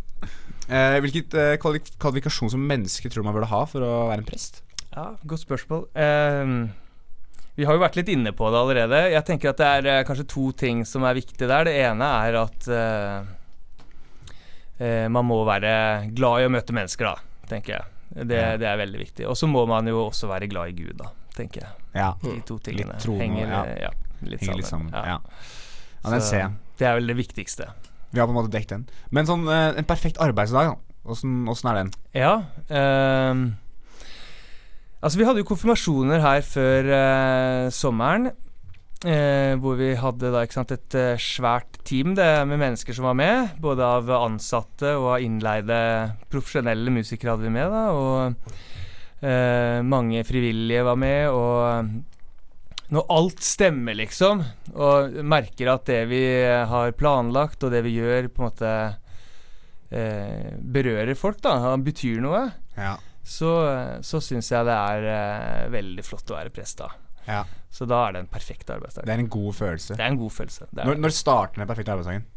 Speaker 1: Eh, hvilket eh, kvali- kvalifikasjon som menneske tror du man burde ha for å være en prest?
Speaker 5: Ja, godt spørsmål. Ehm, vi har jo vært litt inne på det allerede. Jeg tenker at det er eh, kanskje to ting som er viktige der. Det ene er at eh, eh, man må være glad i å møte mennesker, da, tenker jeg. Det, det er veldig viktig. Og så må man jo også være glad i Gud, da, tenker jeg.
Speaker 1: Ja,
Speaker 5: De to tingene
Speaker 1: Mm. Litt troende,
Speaker 5: henger
Speaker 1: ja.
Speaker 5: eh, ja,
Speaker 1: henger
Speaker 5: litt sammen.
Speaker 1: litt sammen.
Speaker 5: Ja.
Speaker 1: Ja. ja, den
Speaker 5: Så
Speaker 1: ser jeg.
Speaker 5: Det er vel det viktigste.
Speaker 1: Vi har på en måte dekket den. Men sånn eh, en perfekt arbeidsdag, da. Åssen åssen er den?
Speaker 5: Ja. ehm, altså, vi hadde jo konfirmasjoner her før eh, sommeren. eh, hvor vi hadde da, ikke sant, et eh, svært team det, med mennesker som var med. Både av ansatte og av innleide profesjonelle musikere hadde vi med. da, Og eh, mange frivillige var med. Og når alt stemmer, liksom, og merker at det vi har planlagt og det vi gjør, på en måte eh, berører folk, da, han betyr noe,
Speaker 1: Ja.
Speaker 5: så, så syns jeg det er eh, veldig flott å være prest da.
Speaker 1: Ja.
Speaker 5: Så da er det en perfekt arbeidsdag.
Speaker 1: Det er en god følelse.
Speaker 5: Det er en god følelse. Det er.
Speaker 1: Når, når starter den perfekte arbeidsdagen?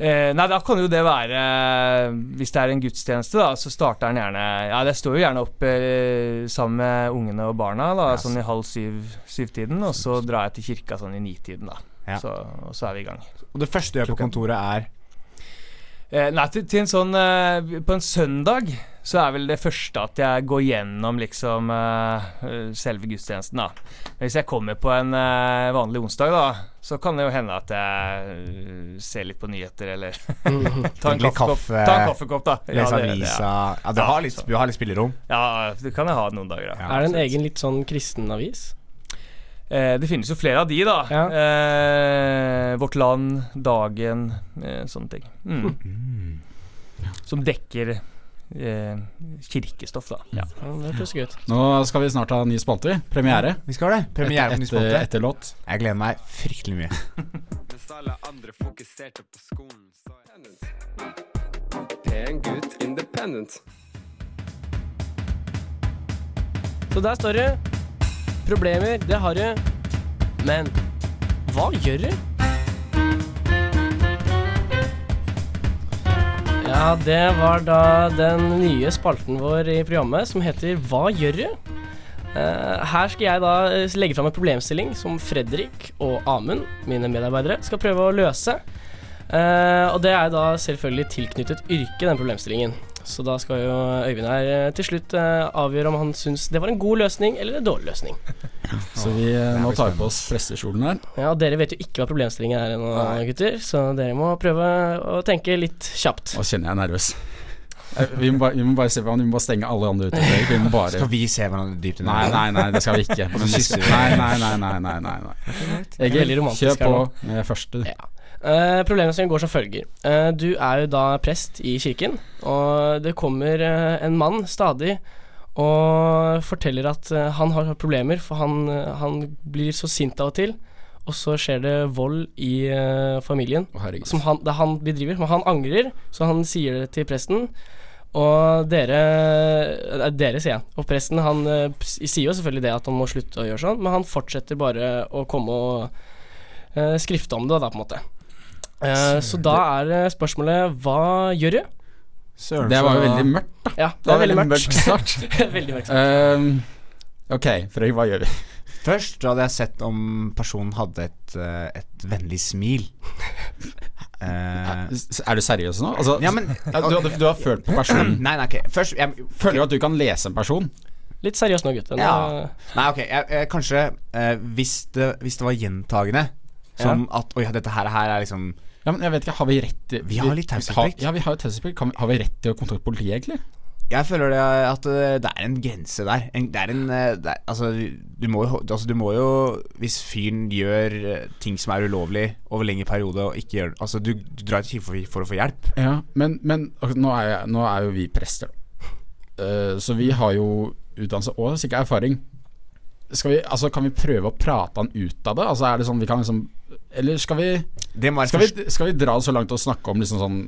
Speaker 5: Eh, nei, da kan jo det være eh, Hvis det er en gudstjeneste, da, så starter den gjerne Ja, det står jo gjerne opp eh, sammen med ungene og barna, da,
Speaker 1: Ja,
Speaker 5: sånn i halv syv, syvtiden, og så drar jeg til kirka sånn i nitiden, da.
Speaker 1: Ja.
Speaker 5: Så, og så er vi i gang.
Speaker 1: Og det første du gjør på
Speaker 5: Klokka-
Speaker 1: kontoret, er
Speaker 5: Eh, nei, til, til en sånn eh, På en søndag så er vel det første at jeg går gjennom liksom eh, eh, selve gudstjenesten, da. Men hvis jeg kommer på en eh, vanlig onsdag, da, så kan det jo hende at jeg eh, ser litt på nyheter, eller ta, en
Speaker 1: Drikke Mm. litt
Speaker 5: kaffekopp,
Speaker 1: kaffe,
Speaker 5: ta en kaffekopp, da. Ja,
Speaker 1: lese
Speaker 5: det- det-
Speaker 1: avisa
Speaker 5: Ja,
Speaker 1: Ja, du har litt, du har litt spillerom.
Speaker 5: ja, det kan jeg ha noen dager, da.
Speaker 1: Ja.
Speaker 4: Er det en egen litt sånn kristen avis?
Speaker 5: Eh, det finnes jo flere av de, da.
Speaker 4: Ja.
Speaker 5: Eh, Vårt Land, Dagen, eh, sånne ting. Mm. Som dekker eh, kirkestoff, da. Ja.
Speaker 4: Ja, det høres gøy ut.
Speaker 2: Nå skal vi snart ha ny spalte, vi. Premiere.
Speaker 1: Vi skal ha det. Premiere på ny
Speaker 2: etter,
Speaker 1: spalte.
Speaker 2: etter låt.
Speaker 1: Jeg gleder meg fryktelig mye.
Speaker 6: Mens alle andre fokuserte på skolen, så Pen gutt independent.
Speaker 4: Så der står det. Problemer, det har du. Men hva gjør du? Ja, det var da den nye spalten vår i programmet som heter Hva gjør du? Eh, her skal jeg da eh, legge fram en problemstilling som Fredrik og Amund, mine medarbeidere, skal prøve å løse. Eh, og det er da selvfølgelig tilknyttet yrke, den problemstillingen. Så da skal jo Øyvind her eh, til slutt eh, avgjøre om han syns det var en god løsning eller en dårlig løsning.
Speaker 2: Så vi, eh, nå
Speaker 1: blir
Speaker 2: tar vi på oss prestekjolen her.
Speaker 4: Ja, og dere vet jo ikke hva problemstillingen er ennå, gutter, så dere må prøve å tenke litt kjapt.
Speaker 2: Nå kjenner jeg er nervøs. Eh, Vi må bare, vi må bare, se, på han, vi må bare stenge alle andre ute. Erik. Vi må bare
Speaker 1: Skal vi se hverandre dypt i
Speaker 2: Nei,
Speaker 1: øynene?
Speaker 2: nei, nei, det skal vi ikke. Men vi skal, nei, nei, nei, nei, nei, nei, nei.
Speaker 4: Veldig
Speaker 2: Egil,
Speaker 4: romantisk
Speaker 2: kjør
Speaker 4: her
Speaker 2: på
Speaker 4: nå.
Speaker 2: med første.
Speaker 4: Ja. Eh, problemstillingen går som følger. Eh, du er jo da prest i kirken, og det kommer eh, en mann stadig og forteller at eh, han har problemer, for han, eh, han blir så sint av og til, og så skjer det vold i eh, familien.
Speaker 2: Å, herregud.
Speaker 4: Som han, det er han bedriver, men han angrer, så han sier det til presten. Og dere eh, Dere, sier jeg. Og presten han eh, s- sier jo selvfølgelig det at han må slutte å gjøre sånn, men han fortsetter bare å komme og eh, skrifte om det, da, på en måte. Eh, så da er eh, spørsmålet hva gjør du?
Speaker 1: Søren,
Speaker 2: Det var jo
Speaker 1: så-
Speaker 2: veldig mørkt.
Speaker 4: Ja, det er veldig mørkt.
Speaker 2: start.
Speaker 4: veldig mørkt.
Speaker 2: Ehm, ok, Frøy, hva gjør vi?
Speaker 1: Først så hadde jeg sett om personen hadde et, eh, et vennlig smil. Eh,
Speaker 2: S- Er du seriøs nå? Altså,
Speaker 1: ja, men
Speaker 2: du, hadde, du har følt på personen.
Speaker 1: Nei, nei, ok. Først jeg,
Speaker 2: Føler du at du kan lese en person?
Speaker 4: Litt seriøst nå, gutter. Nå-
Speaker 1: Ja. Nei, ok. Jeg, jeg, kanskje eh, hvis, det, hvis det var gjentagende som at Oi, dette her, her er liksom
Speaker 2: Ja, men jeg vet ikke, Har vi rett til
Speaker 1: Vi har litt taushetsplikt.
Speaker 2: har- Ja, vi har jo taushetsplikt. Kan vi- Har vi rett til å kontakte politiet, egentlig?
Speaker 1: Jeg føler det at eh, det er en grense der. En, det er en eh, det er, altså, du må jo, altså, du må jo Hvis fyren gjør eh, ting som er ulovlig over lengre periode og ikke gjør Altså, du, du drar til kirken for, for å få hjelp.
Speaker 2: Ja, Men, men ok, nå, er jeg, nå er jo vi prester, da. Eh, så vi har jo utdannelse og sikkert erfaring. Skal vi, altså, kan vi prøve å prate han ut av det? Altså, er det sånn vi kan liksom Eller skal vi
Speaker 1: Det må være
Speaker 2: Skal
Speaker 1: først.
Speaker 2: vi, skal vi dra det så langt og snakke om liksom sånn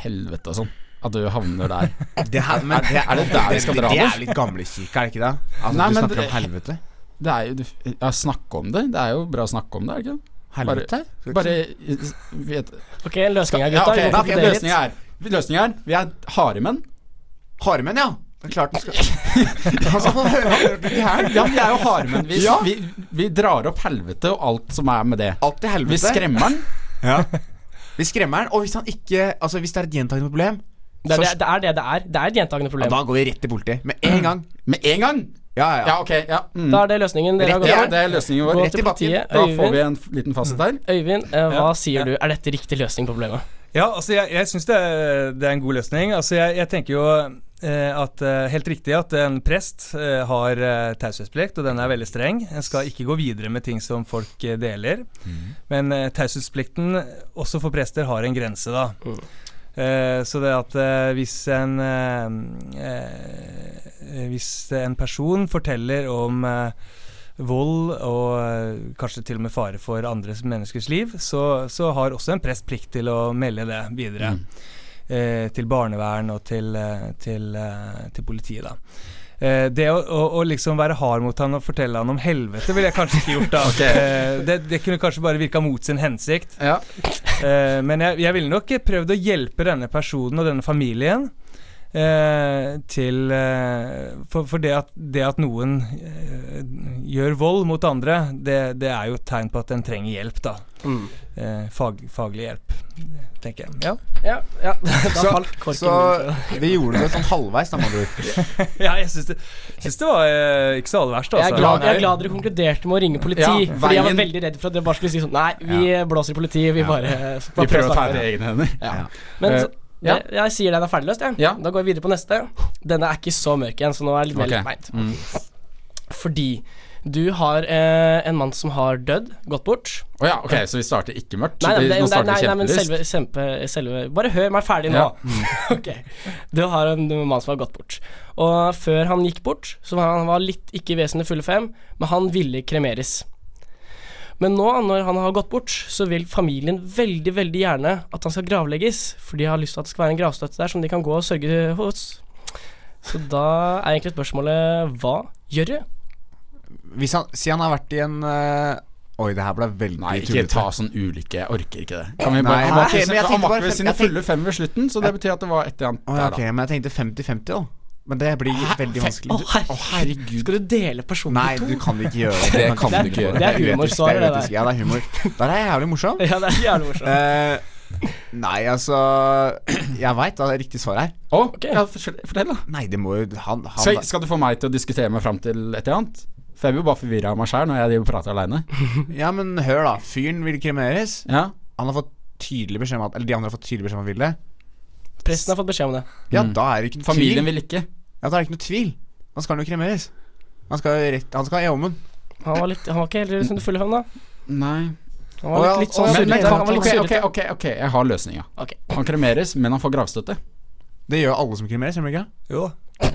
Speaker 2: helvete og sånn? At du havner der.
Speaker 1: Det her, men, det,
Speaker 2: er det der vi skal dra
Speaker 1: det?
Speaker 2: oss?
Speaker 1: er litt gamlekirke, er det ikke det? Altså,
Speaker 2: Nei,
Speaker 1: du
Speaker 2: men
Speaker 1: snakker
Speaker 2: det-
Speaker 1: om helvete.
Speaker 2: Det er jo, ja, snakke om det. Det er jo bra å snakke om det, er det ikke?
Speaker 1: Helvete?
Speaker 2: det? Bare vet,
Speaker 4: Ok, løsninga,
Speaker 2: ja,
Speaker 4: gutta.
Speaker 2: ok,
Speaker 4: Vi må
Speaker 2: ok,
Speaker 4: konkludere litt.
Speaker 2: løsningen er Løsningen er Vi er harde menn.
Speaker 1: Harmen, ja. Det er klart du skal Altså, få høre
Speaker 2: Vi er, ja, vi er jo harde menn. Vi,
Speaker 1: Ja.
Speaker 2: vi, vi drar opp helvete og alt som er med det.
Speaker 1: alt til helvete.
Speaker 2: Vi skremmer den.
Speaker 1: Ja. Vi skremmer den, og hvis han ikke Altså hvis det er et gjentagende problem,
Speaker 4: Det er
Speaker 1: så,
Speaker 4: det det er det det er. Det er et gjentagende
Speaker 1: ja,
Speaker 4: problem.
Speaker 1: da går vi rett til politiet med en gang.
Speaker 2: Med en gang.
Speaker 1: Ja, ja, ja.
Speaker 2: Ja, ok. Ja, mm.
Speaker 4: Da er det løsningen dere har gått
Speaker 2: ja,
Speaker 4: for.
Speaker 2: det er løsningen
Speaker 4: Gå
Speaker 2: vår.
Speaker 1: i
Speaker 4: til
Speaker 1: bakken.
Speaker 4: politiet.
Speaker 2: Da får
Speaker 4: Øyvind,
Speaker 2: vi en f- liten fasit der.
Speaker 4: Øyvind eh, hva
Speaker 5: Ja,
Speaker 4: sier
Speaker 5: ja.
Speaker 4: du? Er dette riktig løsning på problemet?
Speaker 5: Ja, altså jeg, jeg syns det, er- det er en god løsning. Altså jeg, jeg tenker jo eh, at eh, Helt riktig at en prest eh, har eh, taushetsplikt, og den er veldig streng. En skal ikke gå videre med ting som folk eh, deler. Men eh, taushetsplikten, også for prester, har en grense, da.
Speaker 4: Mm.
Speaker 5: Eh, så det at eh, hvis en eh, eh, Hvis en person forteller om eh, vold og eh, kanskje til og med fare for andres menneskers liv, så, så har også en prest plikt til å melde det videre.
Speaker 2: Mm.
Speaker 5: Eh, til barnevern og til, eh, til, eh, til politiet, da. Eh, det å, å, å liksom være hard mot han og fortelle han om helvete ville jeg kanskje ikke gjort. da
Speaker 2: Ok.
Speaker 5: eh, det, det kunne kanskje bare virka mot sin hensikt.
Speaker 2: Ja.
Speaker 5: Eh, men jeg, jeg ville nok prøvd å hjelpe denne personen og denne familien. Eh, til eh, For, for det, at, det at noen eh, gjør vold mot andre, det, det er jo et tegn på at en trenger hjelp, da. Eh, fag, faglig hjelp, tenker jeg. Ja.
Speaker 4: Ja, ja. Da
Speaker 1: Så-
Speaker 4: falt korken
Speaker 1: Så
Speaker 4: min.
Speaker 1: vi gjorde det sånn halvveis, da, med andre ord.
Speaker 5: Ja, jeg syns det, syns det var eh, ikke så aller verst,
Speaker 4: Jeg er,
Speaker 5: altså.
Speaker 4: glad, jeg er glad dere konkluderte med å ringe politi.
Speaker 2: Ja,
Speaker 4: fordi jeg var
Speaker 2: veien-
Speaker 4: veldig redd for at dere bare skulle si sånn Nei, vi blåser i politiet. Vi
Speaker 1: Ja.
Speaker 4: bare,
Speaker 2: Vi
Speaker 4: bare
Speaker 2: prøver å ta
Speaker 4: snakke
Speaker 2: det
Speaker 4: med
Speaker 2: i egne hender.
Speaker 1: Ja.
Speaker 4: dere. Ja. Men
Speaker 2: Eh,
Speaker 4: så,
Speaker 2: ja.
Speaker 4: jeg, jeg sier den er ferdigløst, jeg.
Speaker 2: Ja.
Speaker 4: Da går jeg videre på neste. Denne er ikke så mørk igjen, så nå er jeg litt mer
Speaker 2: Ok.
Speaker 4: lettbeint.
Speaker 2: Mm.
Speaker 4: Fordi du har eh, en mann som har dødd, gått bort.
Speaker 2: Å ja, ok, så vi starter ikke mørkt?
Speaker 4: Nei, nei, men
Speaker 2: vi,
Speaker 4: det,
Speaker 2: nå
Speaker 4: nei,
Speaker 2: starter
Speaker 4: nei,
Speaker 2: vi
Speaker 4: nei, men
Speaker 2: kjempelyst?
Speaker 4: selve, sempe, selve Bare hør meg ferdig nå.
Speaker 2: Ja.
Speaker 4: ok. Du har en mann som har gått bort. Og før han gikk bort, så var han var litt ikke vesentlig fulle fem, men han ville kremeres. Men nå, når han har gått bort, så vil familien veldig veldig gjerne at han skal gravlegges. For de har lyst til at det skal være en gravstøtte der som de kan gå og sørge hos. Så da er egentlig spørsmålet hva gjør du?
Speaker 1: Hvis han Si han har vært i en eh, Oi, det her ble veldig
Speaker 2: Nei, ikke
Speaker 1: tullete.
Speaker 2: ta sånn ulykke. Jeg orker ikke det. Kan vi
Speaker 1: Nei,
Speaker 2: bare, han var
Speaker 1: nei,
Speaker 2: ikke,
Speaker 1: men jeg
Speaker 2: han
Speaker 1: tenkte
Speaker 2: var
Speaker 1: bare
Speaker 2: ikke ved
Speaker 1: fem-
Speaker 2: sine
Speaker 1: jeg
Speaker 2: fulle fem ved slutten, så det betyr at det var et eller annet
Speaker 1: Å, ja,
Speaker 2: der,
Speaker 1: ok, men jeg tenkte 50-50, da. Men det blir veldig
Speaker 4: Å,
Speaker 1: vanskelig.
Speaker 4: herregud.
Speaker 2: herregud.
Speaker 4: Skal du dele personen
Speaker 1: Nei,
Speaker 4: i to?
Speaker 1: du kan ikke gjøre det.
Speaker 2: Det
Speaker 1: Du
Speaker 2: kan du ikke gjøre.
Speaker 4: Det er
Speaker 1: uetisk,
Speaker 4: humor, svaret,
Speaker 1: det er
Speaker 4: det
Speaker 1: uetisk.
Speaker 4: der.
Speaker 1: Ja, det er humor. Der er jeg jævlig morsom.
Speaker 4: Ja, det er jævlig morsomt.
Speaker 1: Eh, nei, altså Jeg veit hva det riktige svaret er.
Speaker 2: da. Å, ja, fortell, fortell, da.
Speaker 1: Nei, det må jo Han, han
Speaker 2: Skal, skal du få meg til å diskutere meg fram til et eller annet? For jeg blir jo bare forvirra av meg sjæl når jeg driver og prater aleine.
Speaker 1: Ja, men hør da. Fyren vil kremeres.
Speaker 2: Ja.
Speaker 1: Han har fått tydelig beskjed om at Eller de andre har fått tydelig beskjed om at han vil det.
Speaker 4: Presten har fått beskjed om det.
Speaker 1: Ja,
Speaker 2: Mm.
Speaker 1: da er det ikke noe tvil.
Speaker 2: Familien vil ikke.
Speaker 1: Ja, da er det ikke noe tvil. Da skal han jo kremeres. Han skal jo rett Han skal i ovnen.
Speaker 4: Han var, litt, han var ikke helt som du fulle fem, da.
Speaker 2: Nei.
Speaker 4: Han var litt, litt sånn
Speaker 2: Men-
Speaker 4: surrete.
Speaker 2: men-
Speaker 4: Han var litt
Speaker 2: ok, ok,
Speaker 4: surrete.
Speaker 2: ok, ok, jeg har løsninga.
Speaker 4: Ok.
Speaker 2: Han kremeres, men han får gravstøtte.
Speaker 1: Det gjør alle som kremeres, gjør de ikke?
Speaker 5: Jo da.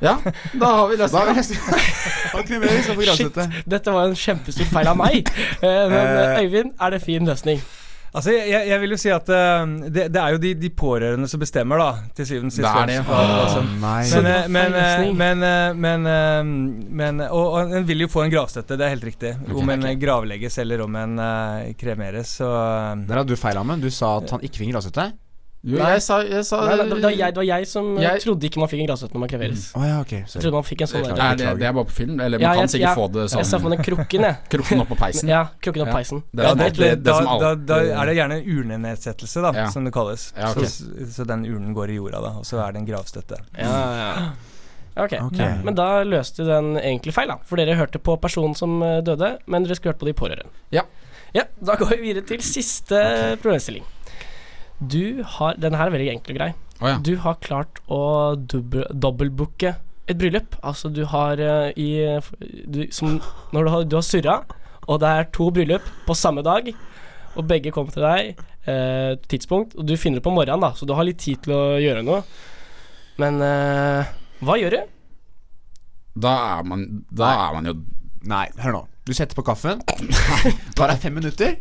Speaker 2: Ja, da har vi
Speaker 1: Da er
Speaker 2: løsninga.
Speaker 1: det Han kremeres og får gravstøtte.
Speaker 4: Dette var en kjempestor feil av meg. Eh, Men eh,
Speaker 1: Eh.
Speaker 4: Øyvind, er det fin løsning?
Speaker 5: Altså, jeg, jeg vil jo si at eh, det, det er jo de, de pårørende som bestemmer, da. Til syvende og sist.
Speaker 2: Det er det.
Speaker 5: hvem som skal ha det, altså.
Speaker 1: nei.
Speaker 5: Men,
Speaker 4: det var
Speaker 5: eh, men,
Speaker 4: feil
Speaker 5: eh,
Speaker 4: løsning.
Speaker 5: men, eh, men, eh, men eh, og, og en vil jo få en gravstøtte, det er helt riktig.
Speaker 2: Ok.
Speaker 5: Om en eh, gravlegges eller om en eh, kremeres. Så eh,
Speaker 1: Der hadde du feil, Amund. Du sa at han ikke fikk gravstøtte.
Speaker 2: Jo, jeg sa, jeg sa
Speaker 4: Nei, nei, det, var jeg, det var jeg som eh,
Speaker 2: Jeg- Mm.
Speaker 4: trodde ikke man fikk en gravstøtte når man kreveres.
Speaker 1: Å ja, ok.
Speaker 4: Jeg
Speaker 1: Sorry.
Speaker 4: trodde man fikk en sånn
Speaker 2: Det
Speaker 4: der.
Speaker 2: er, det, det er bare på film, eller man
Speaker 4: Ja,
Speaker 2: kan
Speaker 4: jeg-
Speaker 2: sikkert
Speaker 4: jeg-
Speaker 2: få det
Speaker 4: Jeg ser for
Speaker 2: sånn.
Speaker 4: meg den krukken, jeg.
Speaker 2: Krukken opp på peisen.
Speaker 4: Ja, krukken opp
Speaker 2: Ja.
Speaker 4: peisen.
Speaker 2: Det er
Speaker 5: ja,
Speaker 2: sånn
Speaker 5: det,
Speaker 2: alltid-
Speaker 5: da,
Speaker 2: det som
Speaker 5: da,
Speaker 2: alltid
Speaker 5: da er det gjerne urnenedsettelse, da,
Speaker 2: Ja.
Speaker 5: som det kalles.
Speaker 2: Ja, ok.
Speaker 5: så, så den urnen går i jorda, da, og så er det en gravstøtte.
Speaker 4: Ja, ja. Ok.
Speaker 1: Ok.
Speaker 4: Men da løste den egentlig feil, da. For dere hørte på personen som eh, døde, men dere skulle hørt på de pårørende.
Speaker 2: Ja.
Speaker 4: Ja, Da går vi videre til siste problemstilling. Du har Den her er veldig enkel og grei.
Speaker 2: Å ja.
Speaker 4: Du har klart å dubbe- dobbeltbooke et bryllup. Altså, du har eh, i eh, du, Som når du har, du har surra, og det er to bryllup på samme dag, og begge kommer til deg, eh, tidspunkt, og du finner det på morgenen, da, så du har litt tid til å gjøre noe. Men eh, hva gjør du?
Speaker 2: Da er man, da er man jo
Speaker 1: Nei, hør nå. Du setter på kaffen, tar deg fem minutter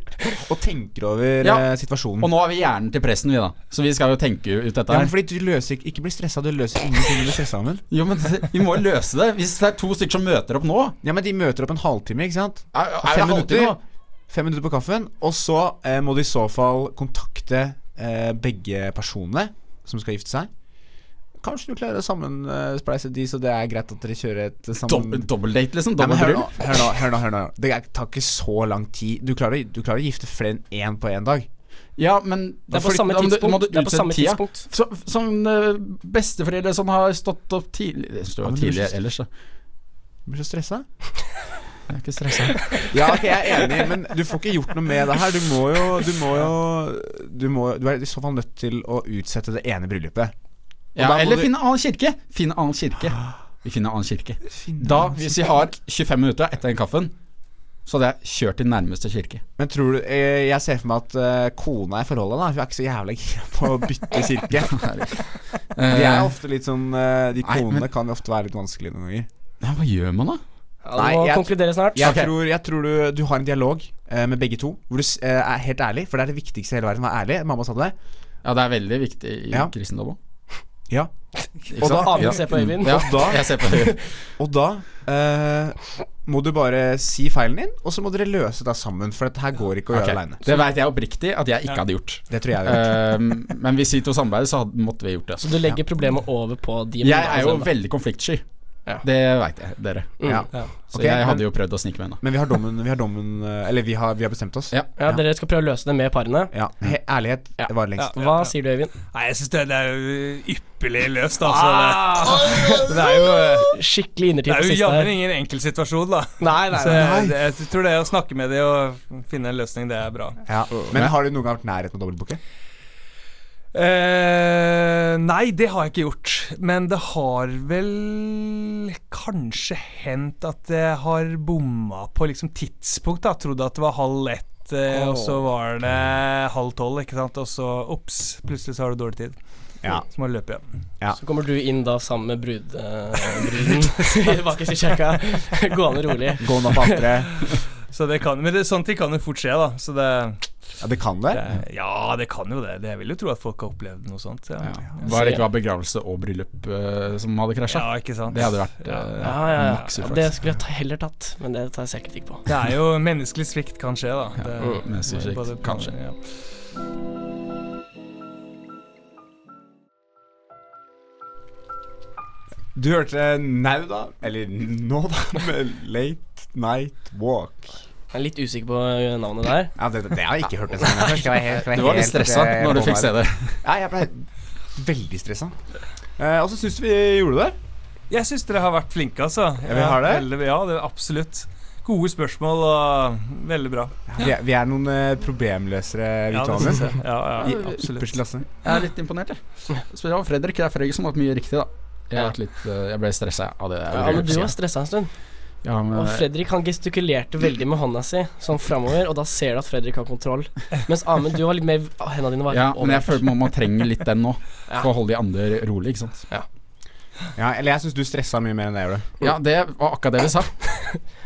Speaker 1: og tenker over
Speaker 2: Ja.
Speaker 1: eh,
Speaker 2: Og
Speaker 1: situasjonen.
Speaker 2: nå har vi hjernen til pressen, vi da. Så vi skal jo tenke ut dette
Speaker 1: Ja, men
Speaker 2: her.
Speaker 1: fordi du løser ikke Ikke bli stressa, du løser ingenting når du blir stressa, Amund.
Speaker 2: Jo, men vi må jo løse det. Hvis det er to stykker som møter opp nå
Speaker 1: Ja, men de møter opp en halvtime, ikke sant?
Speaker 2: Er, er det
Speaker 1: Fem
Speaker 2: halvtid nå?
Speaker 1: minutter, fem minutter på kaffen, og så eh, må du i så fall kontakte eh, begge personene som skal gifte seg. Kanskje du klarer å sammenspleise de, så det er greit at dere kjører et sammen...
Speaker 2: Dobbel- Dobbeldate, liksom?
Speaker 1: Nei, men hør nå,
Speaker 2: Dobbeltbryllup?
Speaker 1: hør nå, hør nå, hør nå. Det er- tar ikke så lang tid. Du klarer, du klarer å gifte flere enn én på én dag.
Speaker 2: Ja, men
Speaker 4: Det er på samme tidspunkt. Det er på samme tidspunkt.
Speaker 2: Så, som eh, besteforeldre som har stått opp tidlig Det
Speaker 1: Ja,
Speaker 2: står jo
Speaker 1: men du-
Speaker 2: tidlig ellers, da.
Speaker 1: Du blir så stressa.
Speaker 2: Jeg er ikke stressa.
Speaker 1: Ja, ok, jeg er enig, men du får ikke gjort noe med det her. Du må jo Du, må jo, du, må, du er i så fall nødt til å utsette det ene bryllupet. Og
Speaker 2: Ja,
Speaker 1: da må
Speaker 2: eller
Speaker 1: du-
Speaker 2: finne annen kirke. Finne annen kirke. Vi finner Ah. annen kirke.
Speaker 1: Finne
Speaker 2: Da,
Speaker 1: annen
Speaker 2: hvis vi har 25 minutter etter den kaffen, så hadde jeg kjørt til nærmeste kirke.
Speaker 1: Men tror du eh, Jeg ser for meg at eh, kona i forholdet, da hun er ikke så jævla gira på å bytte kirke. De er
Speaker 2: Eh,
Speaker 1: ofte litt sånn eh, De
Speaker 2: Nei,
Speaker 1: konene
Speaker 2: men-
Speaker 1: kan jo ofte være litt vanskelige noen ganger.
Speaker 2: ja, hva gjør man da?
Speaker 4: Ja, du
Speaker 1: Nei,
Speaker 4: må
Speaker 1: jeg-
Speaker 4: konkludere snart.
Speaker 1: Jeg
Speaker 2: Ok.
Speaker 1: tror, jeg tror du, du har en dialog eh, med begge to, hvor du s- eh, er helt ærlig. For det er det viktigste i hele verden, å være ærlig. Mamma sa det.
Speaker 2: Ja, det er veldig viktig i
Speaker 1: Ja.
Speaker 2: kristendom òg.
Speaker 1: Ja.
Speaker 2: Og
Speaker 1: da-
Speaker 4: Amund ser på Øyvind.
Speaker 2: Ja,
Speaker 1: Og da,
Speaker 2: jeg ser på Øyvind.
Speaker 1: og da eh, må du bare si feilen din, og så må dere løse det sammen. For dette her går ikke å
Speaker 2: Ok,
Speaker 1: gjøre aleine.
Speaker 2: Det veit jeg oppriktig at jeg ikke hadde gjort.
Speaker 1: Det tror jeg det.
Speaker 2: Ehm, men hvis vi to samarbeider, så hadde, måtte vi gjort det.
Speaker 4: Så du legger problemet over på de
Speaker 2: Jeg er jo
Speaker 4: altså.
Speaker 2: veldig konfliktsky.
Speaker 4: Ja.
Speaker 2: Det veit jeg, dere.
Speaker 4: Mm.
Speaker 1: Ja.
Speaker 4: Ja.
Speaker 2: Eh, Så
Speaker 1: Ok,
Speaker 2: jeg
Speaker 1: men-
Speaker 2: hadde jo prøvd å snike meg unna.
Speaker 1: Men vi har dommen, vi har dommen eh, Eller vi har, vi har bestemt oss.
Speaker 2: Ja.
Speaker 4: ja, dere skal prøve å løse det med parene.
Speaker 1: Ja, he, Ærlighet
Speaker 4: Ja.
Speaker 1: det var lengst.
Speaker 4: Hva sier du, Øyvind?
Speaker 5: Nei, jeg syns det, det er jo ypperlig løst, altså.
Speaker 2: Ah!
Speaker 5: Det, det er jo eh,
Speaker 4: Skikkelig
Speaker 5: det
Speaker 4: innertid
Speaker 5: er
Speaker 4: på
Speaker 5: jo
Speaker 4: siste
Speaker 5: jammen
Speaker 4: her.
Speaker 5: ingen enkel situasjon, da.
Speaker 4: Nei, nei,
Speaker 5: Så
Speaker 4: nei.
Speaker 5: jeg, jeg tror det å snakke med de og finne en løsning, det er bra.
Speaker 1: Ja. Men har du noen gang vært nærhet med dobbeltbooke?
Speaker 5: Eh, nei, det har jeg ikke gjort. Men det har vel kanskje hendt at jeg har bomma på liksom tidspunkt. da Trodde at det var halv ett, eh, og så var det halv tolv. Ikke sant? Og så ops, plutselig så har du dårlig tid.
Speaker 1: Ja.
Speaker 5: Så må du løpe hjem.
Speaker 4: Så kommer du inn da sammen med brud, eh, bruden bakerst i kjerka, gående rolig.
Speaker 1: Gå nå på andre.
Speaker 5: Så det kan, men det, sånne ting kan jo fort skje, da. Så det,
Speaker 1: Ja, det kan det.
Speaker 5: det Ja, det kan jo det. det. Jeg vil jo tro at folk har opplevd noe sånt. Ja,
Speaker 2: Ja.
Speaker 5: ja.
Speaker 2: Var det ikke bare begravelse og bryllup eh, som hadde krasja?
Speaker 5: ikke sant.
Speaker 2: Det hadde vært
Speaker 5: ja.
Speaker 2: eh,
Speaker 4: Ja, ja, ja.
Speaker 2: maks uflaks.
Speaker 4: Det skulle jeg ta, heller tatt, men det tar jeg selvkritikk på.
Speaker 5: Det er jo menneskelig svikt kan skje, da. Det,
Speaker 2: mm, menneskelig svikt
Speaker 5: både-
Speaker 2: kan skje.
Speaker 5: ja.
Speaker 1: Du hørte Now, da. Eller nå, da. Med Late Night Walk.
Speaker 4: Jeg er litt usikker på eh, navnet der.
Speaker 1: Ja, det, det har jeg ikke hørt. Det, sånn. Skal jeg helt- skal jeg
Speaker 2: Du var litt
Speaker 1: helt-
Speaker 2: stressa
Speaker 1: eh,
Speaker 2: når du
Speaker 1: på
Speaker 2: fikk
Speaker 1: meg?
Speaker 2: se det.
Speaker 1: Ja, jeg ble veldig stressa. Eh, og så syns vi gjorde det.
Speaker 5: Jeg syns dere har vært flinke, altså.
Speaker 1: Ja, vi har det.
Speaker 5: Veldig, ja, det er absolutt. Gode spørsmål og mm, veldig bra.
Speaker 1: Vi er, vi er noen eh, problemløsere, vi
Speaker 5: Ja,
Speaker 1: to.
Speaker 5: det synes
Speaker 1: Amund.
Speaker 5: jeg. Ja,
Speaker 1: I
Speaker 5: ja,
Speaker 1: ypperste
Speaker 5: absolutt.
Speaker 1: klasse.
Speaker 2: Jeg er litt imponert, jeg. Spør om Fredrik. Det er Fredrik som har hatt mye riktig, da. Jeg, har vært litt, eh, jeg ble stressa av det.
Speaker 4: Ja, men du var stressa en stund.
Speaker 2: Ja, men,
Speaker 4: Og Fredrik han gestikulerte veldig med hånda si sånn framover, og da ser du at Fredrik har kontroll. Mens Amund, du var litt mer Hendene dine var
Speaker 2: ja, men jeg
Speaker 4: over.
Speaker 2: føler man, man trenger litt den nå,
Speaker 4: Ja.
Speaker 2: for å holde de andre rolig. ikke sant?
Speaker 1: Ja, eller jeg syns du stressa mye mer enn det jeg gjorde.
Speaker 2: Ja, det var akkurat det vi sa.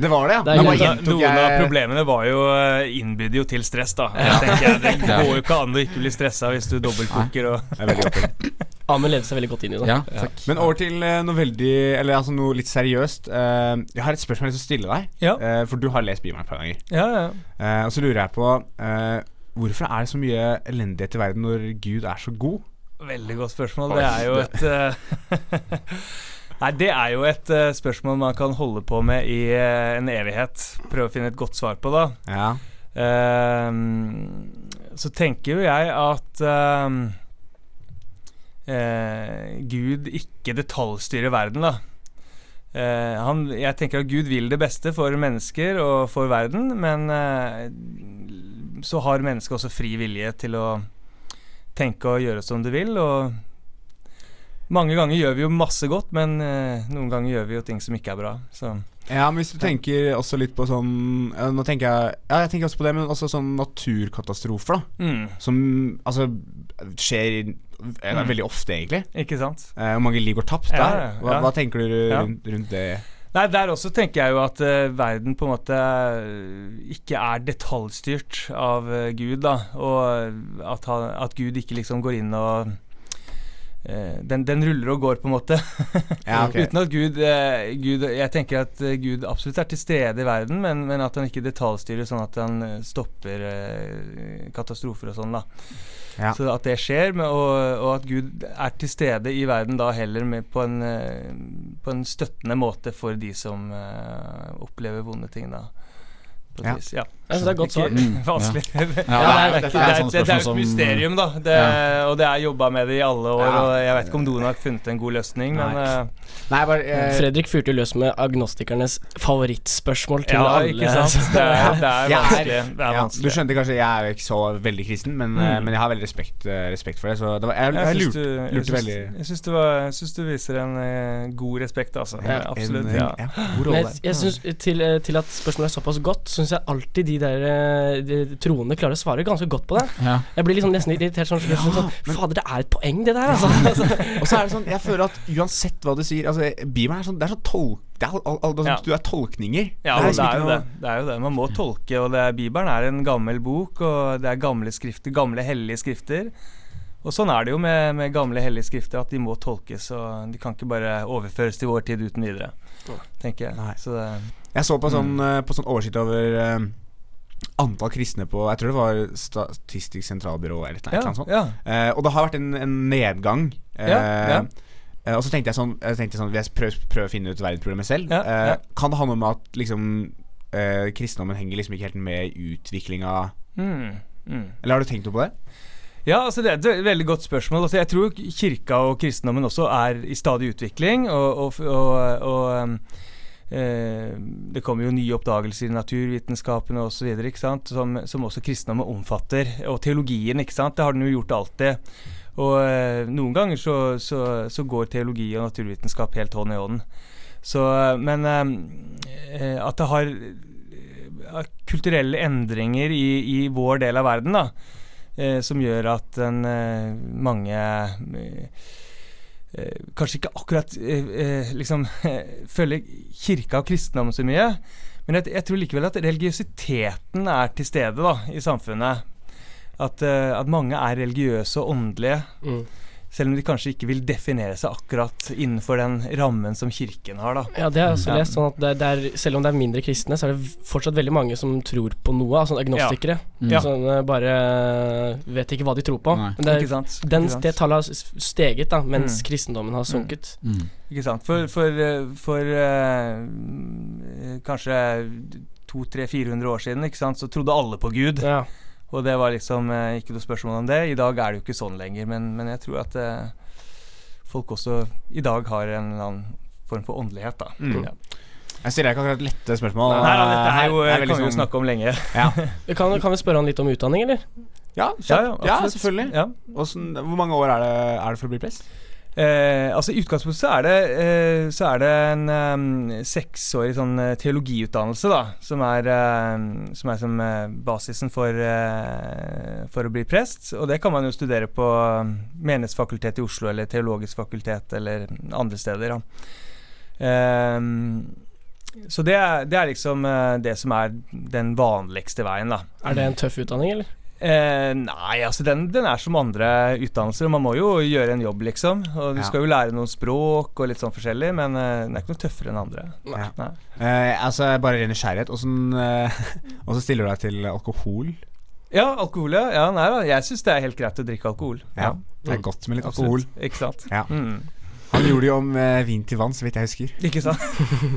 Speaker 1: Det var det, ja. Da
Speaker 4: Det er greit,
Speaker 1: bare
Speaker 4: da.
Speaker 1: gjentok
Speaker 5: Noen av
Speaker 1: jeg
Speaker 5: problemene var jo eh, innbyr jo til stress, da. Tenker jeg. Det
Speaker 2: Ja.
Speaker 5: går jo ikke an å ikke bli stressa hvis du dobbeltkoker og
Speaker 1: Jeg er veldig opptatt.
Speaker 4: Amund levde seg veldig godt inn i det.
Speaker 2: Ja, takk.
Speaker 1: Men over til eh, noe veldig Eller altså noe litt seriøst. Eh, jeg har et spørsmål jeg vil stille deg.
Speaker 5: Ja.
Speaker 1: Eh, for du har lest Bibelen et par ganger.
Speaker 5: Ja, ja.
Speaker 1: Eh, og så lurer jeg på eh, Hvorfor er det så mye elendighet i verden når Gud er så god?
Speaker 5: Veldig godt spørsmål. Det er jo et eh, Nei, det er jo et eh, spørsmål man kan holde på med i eh, en evighet. Prøve å finne et godt svar på, da.
Speaker 1: Ja,
Speaker 5: Ehm, så tenker jo jeg at ehm, eh, Gud ikke detaljstyrer verden, da. Eh, han, jeg tenker at Gud vil det beste for mennesker og for verden, men eh, så har mennesket også fri vilje til å tenke og gjøre som du vil. Og mange ganger gjør vi jo masse godt, men eh, noen ganger gjør vi jo ting som ikke er bra. Så.
Speaker 1: ja men hvis du tenker også litt på sånn ja, Nå tenker jeg Ja, jeg tenker også på det, men også sånn naturkatastrofer, da.
Speaker 5: Mm,
Speaker 1: Som altså skjer i- eh, veldig ofte, egentlig.
Speaker 5: ikke sant?
Speaker 1: Eh, Hvor mange liv går tapt
Speaker 5: Mm. Ja,
Speaker 1: der? Hva,
Speaker 5: ja.
Speaker 1: hva tenker du
Speaker 5: Ja.
Speaker 1: rundt, rundt det?
Speaker 5: Nei, Der også tenker jeg jo at eh, verden på en måte eh, ikke er detaljstyrt av eh, Gud. da, Og eh, at, han, at Gud ikke liksom går inn og eh, den, den ruller og går, på en måte.
Speaker 1: Ja, ok.
Speaker 5: Uten at Gud, eh, Gud Jeg tenker at eh, Gud absolutt er til stede i verden, men, men at han ikke detaljstyrer sånn at han eh, stopper eh, katastrofer og sånn. da
Speaker 1: Ja.
Speaker 5: Så at det skjer, men, og, og at Gud er til stede i verden da heller med, på, en, eh, på en støttende måte for de som eh, opplever vonde ting. da på et
Speaker 1: Ja.
Speaker 5: vis. ja.
Speaker 4: Jeg synes det er godt
Speaker 5: Ikke
Speaker 4: svart.
Speaker 2: Mm,
Speaker 5: Vanskelig.
Speaker 2: Ja,
Speaker 5: Det er,
Speaker 2: det
Speaker 5: ikke- det, er,
Speaker 2: sånne
Speaker 5: det, er jo
Speaker 2: spørsmål
Speaker 5: et
Speaker 2: som-
Speaker 5: mysterium, da. Det, Og det er jobba med det i alle år.
Speaker 1: Ja.
Speaker 5: Og Jeg vet ikke om noen har funnet en god løsning, men
Speaker 1: Nei.
Speaker 5: eh,
Speaker 1: Nei, bare eh,
Speaker 4: Fredrik fyrte jo løs med agnostikernes favorittspørsmål til
Speaker 5: ja,
Speaker 4: alle.
Speaker 5: ikke sant? Det er, det er
Speaker 1: Jeg er-
Speaker 5: vanskelig. Det er
Speaker 1: ja, du
Speaker 5: vanskelig. Mm.
Speaker 1: skjønte kanskje jeg er jo ikke så veldig kristen, men, eh, men jeg har veldig respekt, eh, respekt for det. Så det var, jeg, jeg,
Speaker 5: Jeg syns
Speaker 1: lurte,
Speaker 5: du, jeg
Speaker 1: lurte
Speaker 5: syns-
Speaker 1: veldig.
Speaker 5: jeg syns du, var- jeg syns du viser en eh, god respekt, altså.
Speaker 1: en-
Speaker 5: Absolutt.
Speaker 1: en-
Speaker 5: ja.
Speaker 1: ja, god
Speaker 4: Men
Speaker 1: rolle.
Speaker 4: jeg, jeg synes, til, eh, til at spørsmålet er såpass godt, syns jeg alltid de der eh, de troende klarer å svare ganske godt på det.
Speaker 2: Ja.
Speaker 4: Jeg blir liksom nesten litt irritert sånn, sånn, sånn, Fader, det er et poeng, det der, altså. altså.
Speaker 1: Og så er det sånn, jeg føler at uansett hva du sier altså, Bibelen er sånn, det er sånn tolk... Det er, al, al, det er sånn,
Speaker 5: Ja.
Speaker 1: Du er tolkninger.
Speaker 5: Ja, det
Speaker 1: liksom
Speaker 5: er,
Speaker 1: ikke
Speaker 5: jo
Speaker 1: noe-
Speaker 5: det. det er jo det. Man må tolke, og det er, Bibelen er en gammel bok, og det er gamle skrifter, gamle hellige skrifter. Og sånn er det jo med, med gamle hellige skrifter, at de må tolkes, og de kan ikke bare overføres til vår tid uten videre, tenker
Speaker 1: Nei.
Speaker 5: jeg. Så det,
Speaker 1: Jeg så på sånn,
Speaker 5: Mm.
Speaker 1: eh, på sånn oversikt over eh, antall kristne på Jeg tror det var Statistisk sentralbyrå eller et eller
Speaker 5: ja,
Speaker 1: annet sånt.
Speaker 5: ja.
Speaker 1: Eh, og det har vært en, en nedgang. Eh,
Speaker 5: Ja, ja.
Speaker 1: eh, og så tenkte jeg sånn, jeg tenkte sånn Jeg prøver prøv å finne ut verdensproblemet selv.
Speaker 5: Ja,
Speaker 1: Eh,
Speaker 5: ja.
Speaker 1: Kan det handle om at liksom eh, kristendommen henger liksom ikke helt med i utviklinga
Speaker 5: Mm, mm.
Speaker 1: Eller har du tenkt noe på det?
Speaker 5: Ja, altså det er et ve- veldig godt spørsmål. Altså jeg tror kirka og kristendommen også er i stadig utvikling. Og, og, og, og um, eh, det kommer jo nye oppdagelser i naturvitenskapene osv. Som, som også kristendommen omfatter. Og teologien, ikke sant. Det har den jo gjort alltid. Og eh, noen ganger så, så, så går teologi og naturvitenskap helt hånd i hånd. Så, eh, men eh, eh, at det har eh, kulturelle endringer i, i vår del av verden, da eh, som gjør at en, eh, mange eh, eh, kanskje ikke akkurat eh, eh, liksom, eh, følger kirka og kristendommen så mye. Men jeg, jeg tror likevel at religiøsiteten er til stede da, i samfunnet. At, eh, at mange er religiøse og åndelige,
Speaker 4: Mm.
Speaker 5: selv om de kanskje ikke vil definere seg akkurat innenfor den rammen som kirken har. da.
Speaker 4: Ja, det har jeg også
Speaker 5: Ja.
Speaker 4: lest. Sånn at det, det er, selv om det er mindre kristne, så er det v- fortsatt veldig mange som tror på noe. Altså agnostikere.
Speaker 2: Ja.
Speaker 4: Sånn, eh, bare eh, vet ikke hva de tror på.
Speaker 2: Nei.
Speaker 4: Men det,
Speaker 5: ikke sant?
Speaker 4: er- den,
Speaker 5: ikke sant?
Speaker 4: det tallet har s- steget, da, mens
Speaker 5: Mm.
Speaker 4: kristendommen har sunket.
Speaker 2: Mm.
Speaker 5: Ikke sant. For, for, eh, for eh, kanskje 200-400 år siden ikke sant? så trodde alle på Gud.
Speaker 4: Ja.
Speaker 5: Og det var liksom eh, ikke noe spørsmål om det. I dag er det jo ikke sånn lenger, men, men jeg tror at eh, folk også i dag har en eller annen form for åndelighet, da.
Speaker 1: Mm.
Speaker 5: Ja.
Speaker 1: Jeg stiller ikke akkurat lette spørsmål.
Speaker 5: Nei, da, dette er jo, eh,
Speaker 1: Her- sånn- her
Speaker 5: kan vi jo snakke om lenge.
Speaker 4: Vi Kan, kan vi spørre han litt om utdanning, eller?
Speaker 1: Ja, kjapt. ja,
Speaker 5: absolutt.
Speaker 1: selvfølgelig. sånn,
Speaker 5: Ja.
Speaker 1: Åssen- hvor mange år er det, er det for å bli prest?
Speaker 5: Eh, altså I utgangspunktet så er det, eh, så er det en eh, seksårig sånn eh, teologiutdannelse da, som er, eh, som, er som eh, basisen for, eh, for å bli prest. Og det kan man jo studere på Menighetsfakultetet i Oslo eller Teologisk fakultet eller andre steder. Da. Eh, så det er, det er liksom eh, det som er den vanligste veien, da.
Speaker 4: Er det en tøff utdanning, eller?
Speaker 5: Eh, nei, altså den, den er som andre utdannelser. Man må jo gjøre en jobb, liksom. Og du
Speaker 1: Ja.
Speaker 5: skal jo lære noen språk og litt sånn forskjellig, men eh, den er ikke noe tøffere enn andre.
Speaker 1: Ja. Eh, altså, bare ren nysgjerrighet. Åssen eh, åssen stiller du deg til alkohol?
Speaker 5: Ja, alkohol, ja. ja nei da, jeg syns det er helt greit å drikke alkohol.
Speaker 1: Ja, Det er godt med litt alkohol.
Speaker 5: Absolutt. Ikke sant?
Speaker 1: Ja.
Speaker 5: Mm.
Speaker 1: Han gjorde jo om eh, vin til vann, så vidt jeg husker.
Speaker 5: Ikke sant?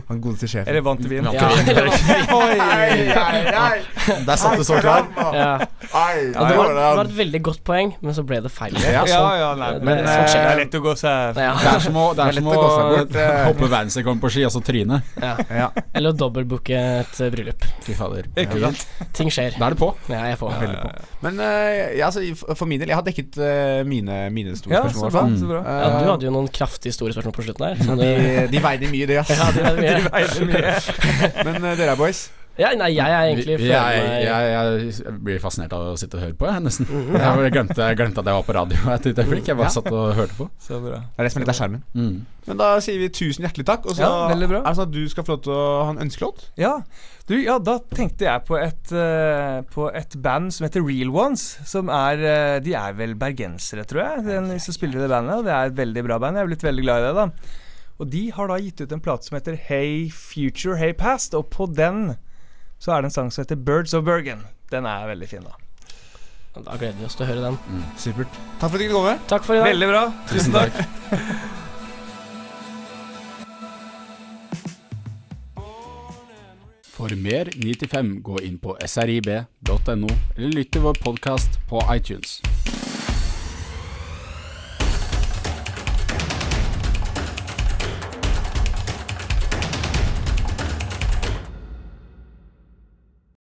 Speaker 1: Han godeste sjefen.
Speaker 5: Eller vant til vin.
Speaker 4: Ja.
Speaker 8: Der satt du så klar.
Speaker 4: ja.
Speaker 8: Ai,
Speaker 4: Ja, det, var, det var
Speaker 8: var
Speaker 4: et veldig godt poeng, men så ble det feil.
Speaker 5: Ja,
Speaker 1: Ja,
Speaker 5: ja,
Speaker 1: sånn.
Speaker 5: nei,
Speaker 4: Det-
Speaker 5: men
Speaker 4: det-
Speaker 5: eh,
Speaker 4: sånn
Speaker 5: det
Speaker 4: skjer.
Speaker 5: er lett å gå seg
Speaker 4: Ja.
Speaker 2: Det er som å, det er
Speaker 1: Det er
Speaker 2: som
Speaker 1: lett
Speaker 2: å,
Speaker 1: å gå seg bort, eh.
Speaker 2: hoppe verdensrekord på ski, altså tryne.
Speaker 1: Ja,
Speaker 4: Eller å dobbeltbooke et eh, bryllup.
Speaker 2: Fy fader.
Speaker 5: Ikke sant?
Speaker 4: Ting skjer.
Speaker 2: Da er det på.
Speaker 4: Ja, jeg får.
Speaker 1: veldig på. Men eh, ja, altså, i- for min del, jeg har dekket eh, mine, mine store
Speaker 5: Ja,
Speaker 1: spørsmål.
Speaker 5: så
Speaker 1: i
Speaker 5: bra.
Speaker 1: hvert fall.
Speaker 5: Så bra.
Speaker 4: Mm. Ja, du
Speaker 1: Eh,
Speaker 4: hadde jo noen kraftig store spørsmål på slutten her. Som du,
Speaker 1: de, de veide mye, de, ass.
Speaker 4: ja, det er mye.
Speaker 5: Nei, så mye.
Speaker 1: Men eh, dere er boys.
Speaker 4: ja, nei, jeg er egentlig
Speaker 2: jeg, jeg, jeg, jeg blir fascinert av å sitte og høre på, jeg, nesten. Jeg bare glemte, jeg glemte at jeg var på radio et lite øyeblikk. Jeg
Speaker 1: Ja.
Speaker 2: bare satt og hørte på.
Speaker 5: Så bra.
Speaker 1: Det er det som er litt av skjermen.
Speaker 2: Mm.
Speaker 1: Men da sier vi tusen hjertelig takk. Og så
Speaker 5: Ja,
Speaker 1: er
Speaker 5: veldig bra.
Speaker 1: det sånn at du skal få lov til å ha en ønskelåt.
Speaker 5: Ja, du, ja, da tenkte jeg på et, eh, på et band som heter Real Ones. Som er, eh, de er vel bergensere, tror jeg, den, som spiller i det bandet. Og det er et veldig bra band. Jeg er blitt veldig glad i det. da Og de har da gitt ut en plate som heter Hey Future, Hey Past. Og på den så er det en sang som heter Birds of Bergen. Den er veldig fin, da.
Speaker 4: Da gleder vi oss til å høre den.
Speaker 1: Supert. Takk for at eh. du kunne komme.
Speaker 4: Takk for i dag.
Speaker 5: Veldig bra.
Speaker 2: Tusen takk. For mer 9 til 5, gå inn på srib.no, eller lytt til vår podkast på iTunes.